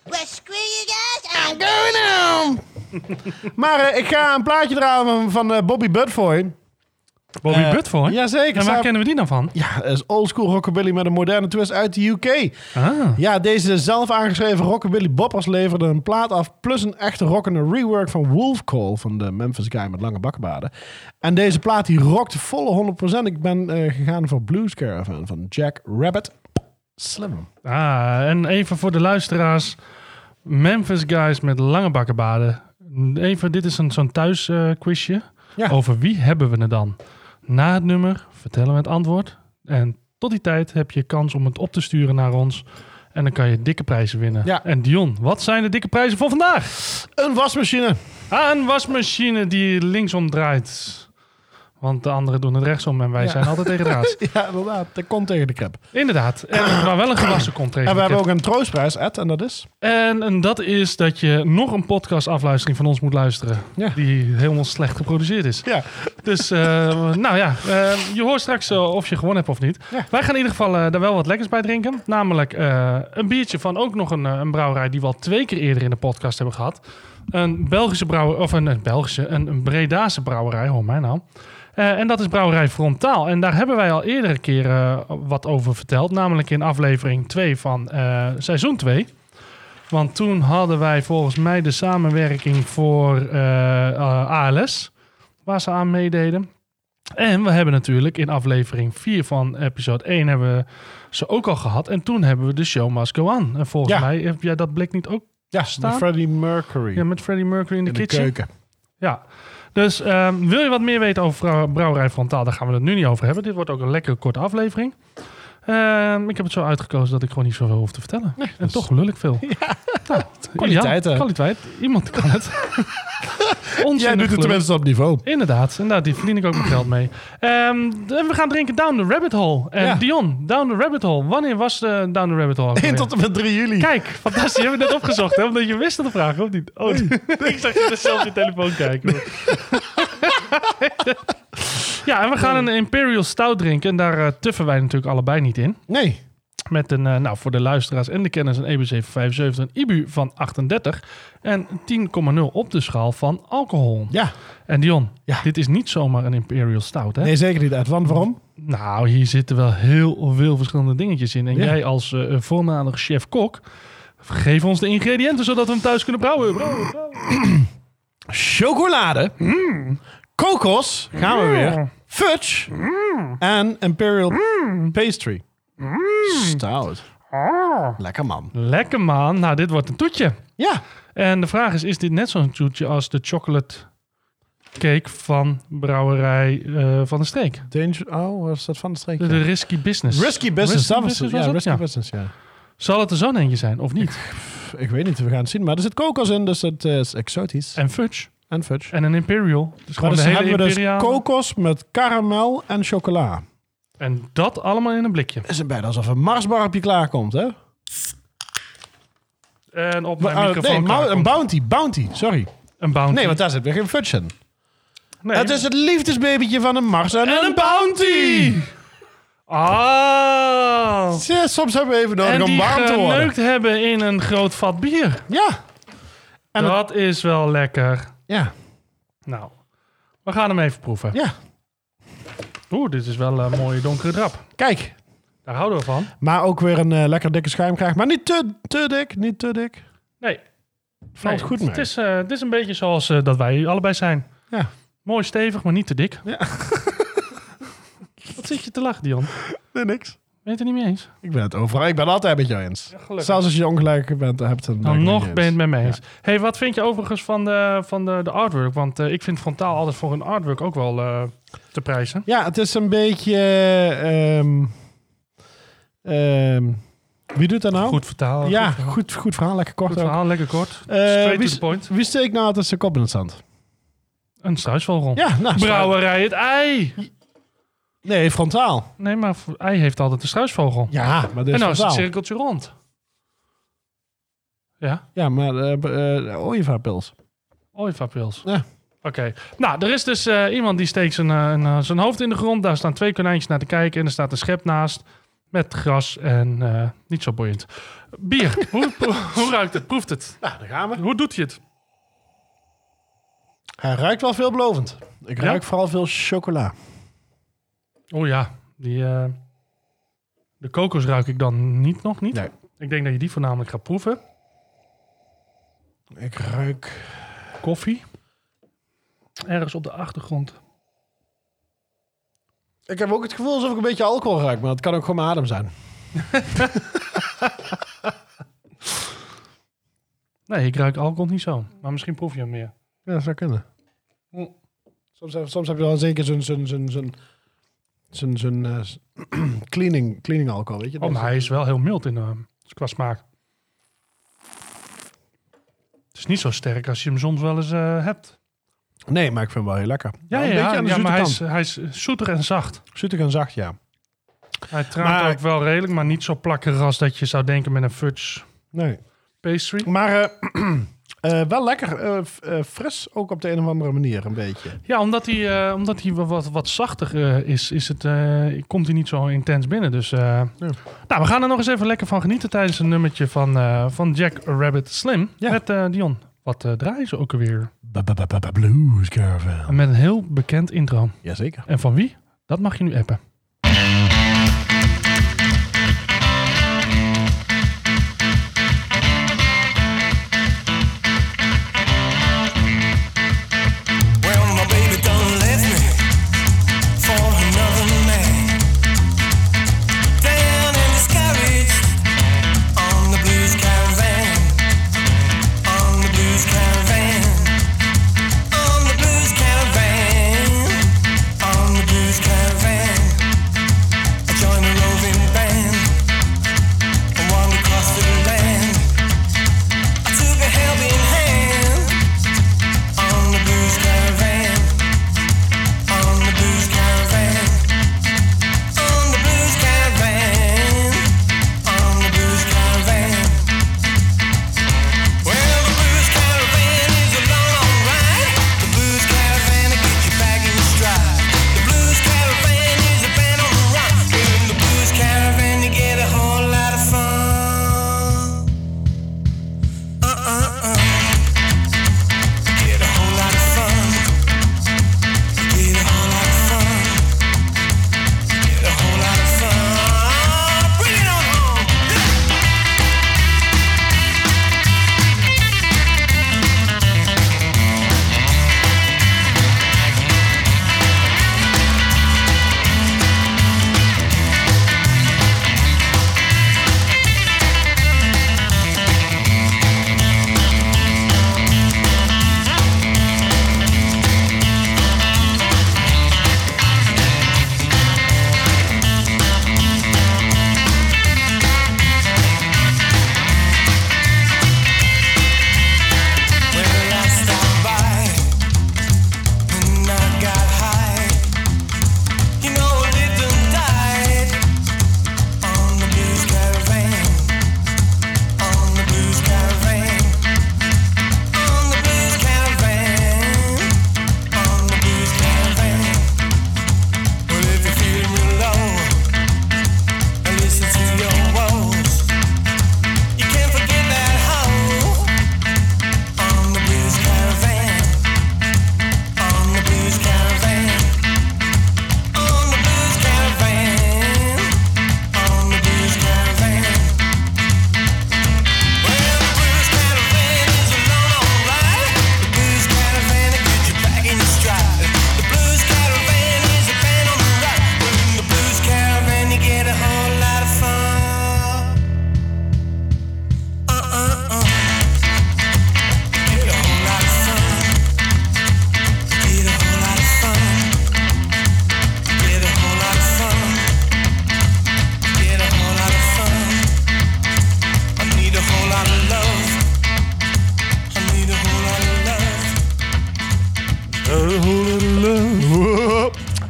Well, screw you guys. I'm
Maar eh, ik ga een plaatje draaien van, van eh, Bobby Budfoy.
Bobby
Eh,
Budford?
Jazeker.
En waar
Zou-
kennen we die nou van?
Ja, dat is oldschool rockabilly met een moderne twist uit de UK.
Ah,
Ja, deze zelf aangeschreven rockabilly boppers leverde een plaat af... plus een echte rockende rework van Wolf Call van de Memphis Guy met lange bakkenbaarden. En deze plaat die rockte volle 100%. Ik ben eh, gegaan voor Blues Caravan van Jack Rabbit. Slim.
ah, en even voor de luisteraars. Memphis Guys met lange bakkenbaden. Even, dit is een, zo'n thuisquizje. quizje.
Ja.
Over wie hebben we het dan? Na het nummer vertellen we het antwoord. En tot die tijd heb je kans om het op te sturen naar ons. En dan kan je dikke prijzen winnen.
Ja.
En Dion, wat zijn de dikke prijzen voor vandaag?
Een wasmachine.
Ah, een wasmachine die linksom draait. Want de anderen doen het rechtsom en wij zijn altijd tegen de raad.
Ja, inderdaad. Dat komt tegen de krip.
Inderdaad. En, maar wel een gewassen komt tegen.
En
de
we hebben
kip.
ook een troostprijs, Ed. En dat is...
En, en dat is dat je nog een podcastafluistering van ons moet luisteren.
Ja.
Die helemaal slecht geproduceerd is.
Ja.
Dus, eh, nou ja, eh, je hoort straks eh, of je gewonnen hebt of niet.
Ja.
Wij gaan in ieder geval eh, daar wel wat lekkers bij drinken. Namelijk eh, een biertje van ook nog een, eh, een brouwerij die we al twee keer eerder in de podcast hebben gehad. Een Belgische brouwerij, of een, een Belgische, een, een Bredaanse brouwerij, hoor mij nou. Eh, en dat is brouwerij Frontaal. En daar hebben wij al eerdere keren eh, wat over verteld. Namelijk in aflevering 2 van eh, seizoen 2. Want toen hadden wij volgens mij de samenwerking voor eh, eh, ALS. Waar ze aan meededen. En we hebben natuurlijk in aflevering 4 van episode 1 hebben we ze ook al gehad. En toen hebben we de show Must Go On. En volgens
Ja.
mij heb jij dat blik niet ook
Ja,
staan?
Freddie Mercury.
ja, met Freddie Mercury in de,
in de
kitchen.
keuken.
Ja. Dus ehm, wil je wat meer weten over vrou- Brouwerij Frontaal? Daar gaan we het nu niet over hebben. Dit wordt ook een lekkere korte aflevering. Ehm, ik heb het zo uitgekozen dat ik gewoon niet zoveel hoef te vertellen. en toch lul ik veel. Nou,
dus- Kwaliteit,
ideaal.
hè?
Kwaliteit. Iemand kan het. Onzinnig
Jij doet het
gelul.
tenminste op niveau.
Oh, Inderdaad, inderdaad, die verdien ik ook mijn geld mee. Ehm, d- en we gaan drinken Down the Rabbit Hole. En
Ja.
Dion, Down the Rabbit Hole. Wanneer was eh, Down the Rabbit Hole? ook
1
alweer?
tot en met 3 juli.
Kijk, fantastisch. Je hebt het net opgezocht, hè? Omdat je wist dat de vraag, of niet? Oh, ik zag je dus zelf je telefoon kijken. ja, en we gaan een Imperial Stout drinken. En daar eh, tuffen wij natuurlijk allebei niet in.
Nee.
Met een, eh, nou, voor de luisteraars en de kennis een EBC van 75, een IBU van 38 en 10,0 op de schaal van alcohol.
Ja.
En Dion,
Ja.
dit is niet zomaar een Imperial Stout, hè?
Nee, zeker niet, Ed. Want waarom?
Nou, hier zitten wel heel veel verschillende dingetjes in. En
Ja.
jij als eh voormalig chef-kok, geef ons de ingrediënten zodat we hem thuis kunnen brouwen. Brouwen, brouwen.
Chocolade.
Mm.
Kokos. Gaan we weer. Fudge.
Mm.
En Imperial Pastry.
Mm.
Stout.
Ah.
Lekker man.
Lekker man. Nou, dit wordt een toetje.
Ja.
En de vraag is, is dit net zo'n toetje als de chocolate cake van brouwerij eh, Van de Streek.
Danger, oh, was dat van de streek?
De, de Risky Business.
Risky business,
Risky
dat was
Business
het.
was
Ja,
het?
risky
Ja.
business, ja.
Zal het er zo'n eentje zijn of niet?
Pff, Ik weet niet, we gaan het zien. Maar er zit kokos in, dus het eh, is exotisch.
En fudge.
En fudge.
En een imperial. Dus
Maar
gewoon
dus
de hele
hebben we dus
imperiale.
kokos met karamel en chocola.
En dat allemaal in een blikje.
Het is bijna alsof een marsbar op je klaarkomt, hè?
En op mijn
Ah,
microfoon
nee,
klaar
mou- een
komt
bounty, bounty, sorry.
een bounty.
Nee, want daar zit weer geen fudge in.
Nee.
Het is het liefdesbabytje van een mars en,
En een bounty! Ah!
Ja, soms hebben we even
En
nodig om
die
warm te worden.
geneukt hebben in een groot vat bier.
Ja, En het-
dat is wel lekker.
ja,
Nou, we gaan hem even proeven.
ja.
Oeh, dit is wel een mooie donkere drap.
Kijk,
Daar houden we van.
maar ook weer een eh, lekker dikke schuim krijgt. Maar niet te, te dik, niet te dik.
Nee,
Valt
nee,
goed mee.
het is, eh, het is een beetje zoals eh, dat wij allebei zijn.
Ja.
Mooi stevig, maar niet te dik. Wat zit je te lachen, Dion?
Nee, niks.
Weet het niet mee eens?
Ik ben het overal. Ik ben altijd met jou eens.
gelukkig.
Zelfs als je ongelijk bent, hebt dan ben
Dan
ik
Nou, nog
niet
ben je het
eens.
met me eens. hey, wat vind je overigens van de, van de, de artwork? Want eh, ik vind frontaal altijd voor een artwork ook wel eh, te prijzen.
Ja, het is een beetje. eh, ehm, ehm, wie doet dat nou?
Goed vertaal.
Ja,
goed, verhaal.
goed, goed verhaal, lekker kort
Goed
ook.
verhaal, lekker kort.
Eh,
Straight
wie
to
is-
the point.
Wie steekt nou tussen kop in het zand?
Een struisvogel.
Ja, nou.
Brouwerij het ei.
Nee, frontaal.
Nee, maar v- ei heeft altijd een struisvogel.
Ja, maar
en
dit is
nou is het
frontaal.
cirkeltje rond. Ja,
Ja, maar eh b- eh ooievaarpils.
ooievaarpils.
Ja.
Oké. Nou, er is dus eh, iemand die steekt zijn, eh, een, eh, zijn hoofd in de grond. Daar staan twee konijntjes naar te kijken. En er staat een schep naast. Met gras en eh, niet zo boeiend. Bier. hoe, hoe ruikt het? Proeft het?
Nou, daar gaan we.
Hoe doet hij het?
Hij ruikt wel veelbelovend. Ik
Ja?
ruik vooral veel chocola.
Oh ja, die, eh, de kokos ruik ik dan niet, nog niet.
Nee.
Ik denk dat je die voornamelijk gaat proeven.
Ik ruik...
Koffie. Ergens op de achtergrond.
Ik heb ook het gevoel alsof ik een beetje alcohol ruik, maar het kan ook gewoon mijn adem zijn.
Nee, ik ruik alcohol niet zo. Maar misschien proef je hem meer.
Ja, dat zou kunnen. Hm. Soms, heb- soms heb je wel zeker zo'n... zo'n zo'n zo'n zo'n zo'n eh, s- cleaning, cleaning alcohol, weet je?
Oh, maar hij is wel heel mild in, eh, qua smaak. Het is niet zo sterk als je hem soms wel eens eh, hebt.
Nee, maar ik vind hem wel heel lekker.
Ja,
een
ja,
beetje
ja,
aan de
ja,
zoete
maar hij
kant.
is, hij is eh, zoeter en zacht.
Zoetig en zacht, ja.
Hij traant
Maar-
ook wel redelijk, maar niet zo plakkerig als dat je zou denken met een fudge
Nee.
pastry.
Maar eh, eh, wel lekker eh, f- eh, fris, ook op de een of andere manier een beetje.
Ja, omdat hij, eh, omdat hij wa- wat, wat zachter eh, is, is het, eh, komt hij niet zo intens binnen. Dus, eh, Nou, we gaan er nog eens even lekker van genieten tijdens een nummertje van, eh, van Jack Rabbit Slim
Ja.
met eh, Dion. Wat eh, draaien ze ook alweer?
Blues Caravan.
Met een heel bekend intro.
Jazeker.
En van wie? Dat mag je nu appen.
Well, my baby done left me for another man. Down in his carriage on the blues caravan, on the blues caravan, on the blues caravan, on the blues caravan.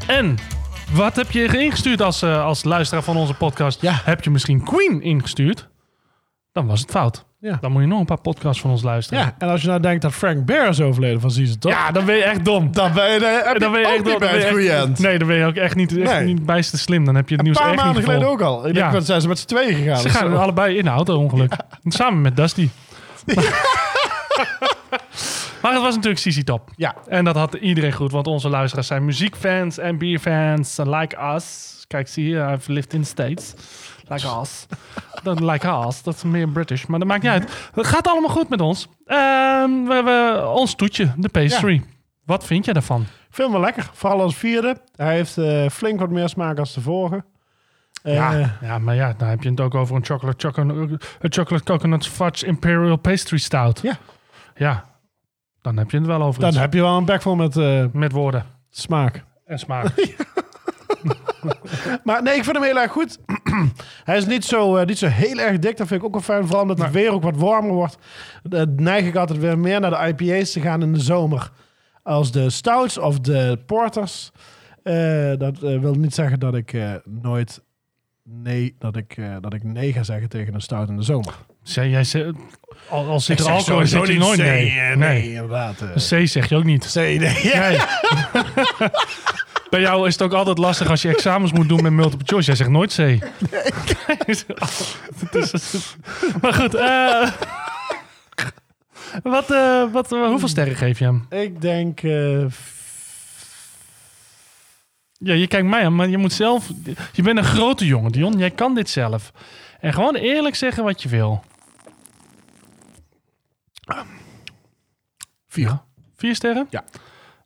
En wat heb je ingestuurd als, eh, als luisteraar van onze podcast?
Ja.
Heb je misschien Queen ingestuurd? Dan was het fout.
Ja.
Dan moet je nog een paar podcasts van ons luisteren.
Ja, en als je nou denkt dat Frank Bear is overleden van Season Top...
Ja, dan ben je echt dom.
dan ben je, dan heb je
dan ben je
ook
echt
niet
dom.
bij
Dan ben
het
je
goede
echt-
end.
Nee, dan ben je ook echt niet, echt
Nee.
niet bijster slim. Dan heb je het
Een
nieuws
paar
echt
maanden
niet
geleden
gevolgd.
ook al. Ik
Ja.
denk, dat zijn ze met z'n tweeën gegaan.
Ze
of
gaan
zo.
allebei in een auto-ongeluk. Samen met Dusty. maar het was natuurlijk CC Top.
Ja.
En dat had iedereen goed, want onze luisteraars zijn muziekfans en bierfans. eh, Like us. Kijk, zie je, I've lived in the States. Like us. Dat, like us, dat is meer British, maar dat maakt niet uit. Het gaat allemaal goed met ons. Ehm, we hebben ons toetje, de pastry. Wat vind jij daarvan?
Vind me lekker. Vooral als vierde. Hij heeft eh, flink wat meer smaak als de vorige. Eh,
ja. ja, maar ja, dan heb je het ook over een chocolate, chocolate, een chocolate coconut fudge imperial pastry stout.
Ja.
Ja, dan heb je het wel over
Dan
iets
heb je wel een bek vol met eh,
met woorden
smaak.
en smaak.
Maar nee, ik vind hem heel erg goed. hij is niet zo, eh, niet zo heel erg dik. Dat vind ik ook wel fijn. Vooral omdat het weer ook wat warmer wordt. Eh, neig ik altijd weer meer naar de IPA's te gaan in de zomer. Als de stouts of de porters. Eh, dat eh, wil niet zeggen dat ik eh, nooit nee, dat ik, eh, dat ik nee ga zeggen tegen een stout in de zomer.
Zeg, jij ze- al, als zit er
zeg
alcohol in,
sowieso
zit je
niet
nooit
C,
nee.
eh,
nee.
inderdaad. eh.
C zeg je ook niet.
Nee, nee.
Nee. Bij jou is het ook altijd lastig als je examens moet doen met multiple choice. Jij zegt nooit C. Het is- maar goed, eh, wat, eh, wat, hoeveel sterren geef je hem?
Ik denk eh,
Ja, je kijkt mij aan, maar je moet zelf... Je bent een grote jongen, Dion. Jij kan dit zelf. En gewoon eerlijk zeggen wat je wil.
vier.
Vier sterren?
Ja.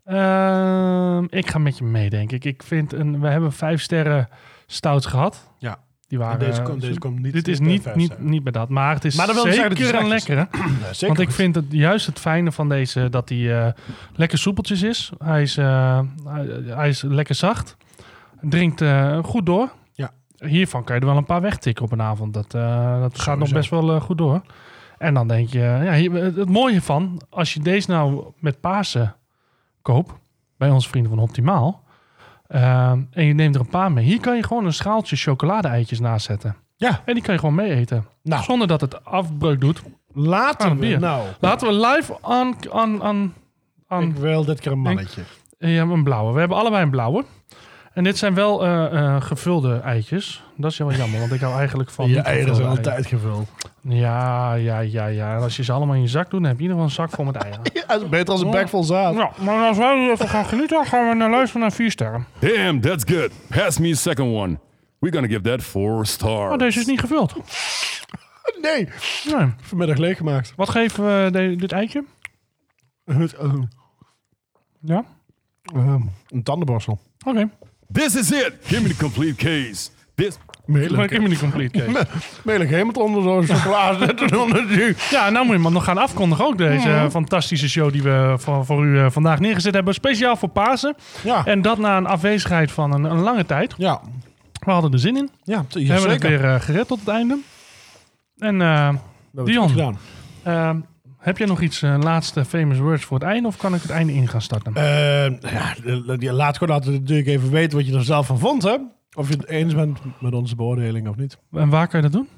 Ehm, ik ga met je mee, denk ik. Ik vind een... We hebben vijf sterren stout gehad.
Ja.
Die waren...
En deze komt-
eh,
deze komt niet
Dit is
bij
niet,
vijf
niet,
sterren.
niet bij dat. Maar het is
Maar dat wil niet
zeker
zeggen dus dat hij
een
slecht is.
lekkere.
Nee, zeker
Want ik
goed.
vind het juist het fijne van deze dat hij eh, lekker soepeltjes is. Hij is, eh, hij, hij is lekker zacht. Drinkt eh, goed door.
Ja.
Hiervan kan je er wel een paar wegtikken op een avond. Dat, eh, dat gaat nog
Sowieso.
best wel eh, goed door. En dan denk je, ja, hier- het het mooie van, als je deze nou met Pasen koopt bij onze vrienden van Optimaal. eh, en je neemt er een paar mee. Hier kan je gewoon een schaaltje chocolade-eitjes naast zetten.
Ja.
En die kan je gewoon mee eten.
Nou.
Zonder dat het afbreuk doet
Laten
Aan Ah, een
we
bier.
nou.
Laten we live aan... aan, aan, aan
Ik wil dit keer een mannetje.
ja, een blauwe. We hebben allebei een blauwe. En dit zijn wel eh, eh, gevulde eitjes. Dat is wel jammer, want ik hou eigenlijk van...
Je
niet
eieren
gevulde
zijn
eieren.
altijd gevuld.
Ja, ja, ja, ja. En als je ze allemaal in je zak doet, dan heb je in ieder geval een zak vol met eieren.
beter als een bek vol zaad.
nou, maar als wij even gaan genieten, gaan we naar luisteren naar vier sterren.
Damn, that's good. Pass me a second one. We're gonna give that four stars.
Oh, deze is niet gevuld.
Oh, Nee,
Nee.
vanmiddag leeggemaakt.
Wat geven we eh, de- dit eitje? Ja?
eh, ehm, een tandenborstel.
Oké.
This is it. Give me the complete case. This.
Maar ik heb hem niet complete, Kees.
Melig helemaal onder zo'n chocolade.
Ja, nou moet je hem nog gaan afkondigen ook. Deze
Mhm.
eh, fantastische show die we voor, voor u eh, vandaag neergezet hebben. Speciaal voor Pasen.
ja.
En dat na een afwezigheid van een, een lange tijd.
ja.
We hadden er zin in.
Ja,
We
ja
hebben het
zeker.
weer eh, gered tot het einde. En eh,
Dat
Dion.
hebben we goed gedaan.
eh, heb jij nog iets, eh, laatste famous words voor het einde? Of kan ik het einde in gaan starten?
Eh, ja, l- l- laat gewoon altijd natuurlijk even weten wat je er zelf van vond. Hè? Of je het eens bent met onze beoordeling of niet.
en waar kan je dat doen?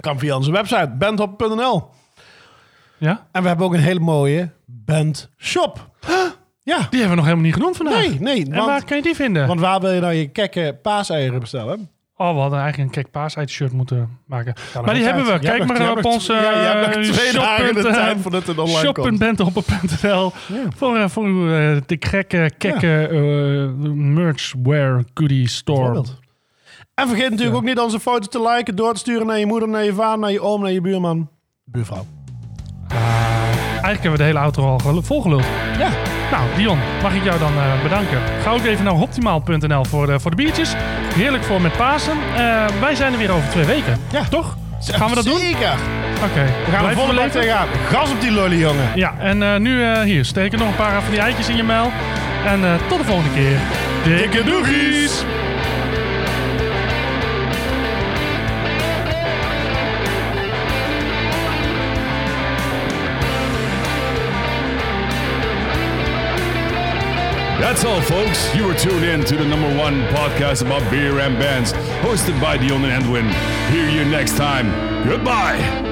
Kan via onze website bandhop.nl.
Ja?
En we hebben ook een hele mooie bandshop. Ja.
Die hebben we nog helemaal niet genoemd vandaag.
Nee, nee.
Nou, En waar
Want,
kan je die vinden?
want waar wil je nou je kekke paaseieren bestellen?
Oh, we hadden eigenlijk een kek paasheid shirt moeten maken. Maar
nog
die
altijd.
hebben we.
Jij
Kijk
hebt nog-
maar
jij
op
hebt nog-
onze
ja, jij hebt nog
eh,
twee dagen de
shop.nl.
tijd voordat het online komt.
Shop.bandhopper.nl voor, eh, voor uw eh, de gekke, kekke eh, merchware goodie store.
Bijvoorbeeld. En vergeet natuurlijk ook niet onze foto's te liken, door te sturen naar je moeder, naar je vader, naar je oom, naar je buurman. Buurvrouw.
Eigenlijk hebben we de hele auto al gelu- volgeluld. Ja. Nou, Dion, mag ik jou dan eh, bedanken. Ga ook even naar optimaal.nl voor de, voor de biertjes. Heerlijk voor met Pasen. Eh, wij zijn er weer over twee weken.
Ja.
Toch? Gaan we dat doen?
Zeker.
Oké.
We gaan er volle bak tegenaan. Gas op die lolly, jongen.
Ja, en eh, nu eh, hier, steek er nog een paar van die eitjes in je mijl. En eh, tot de volgende keer. Dikke doegies!
That That's all, folks. You were tuned in to the number one podcast about beer and bands, hosted by Dion and Edwin. Hear you next time. Goodbye.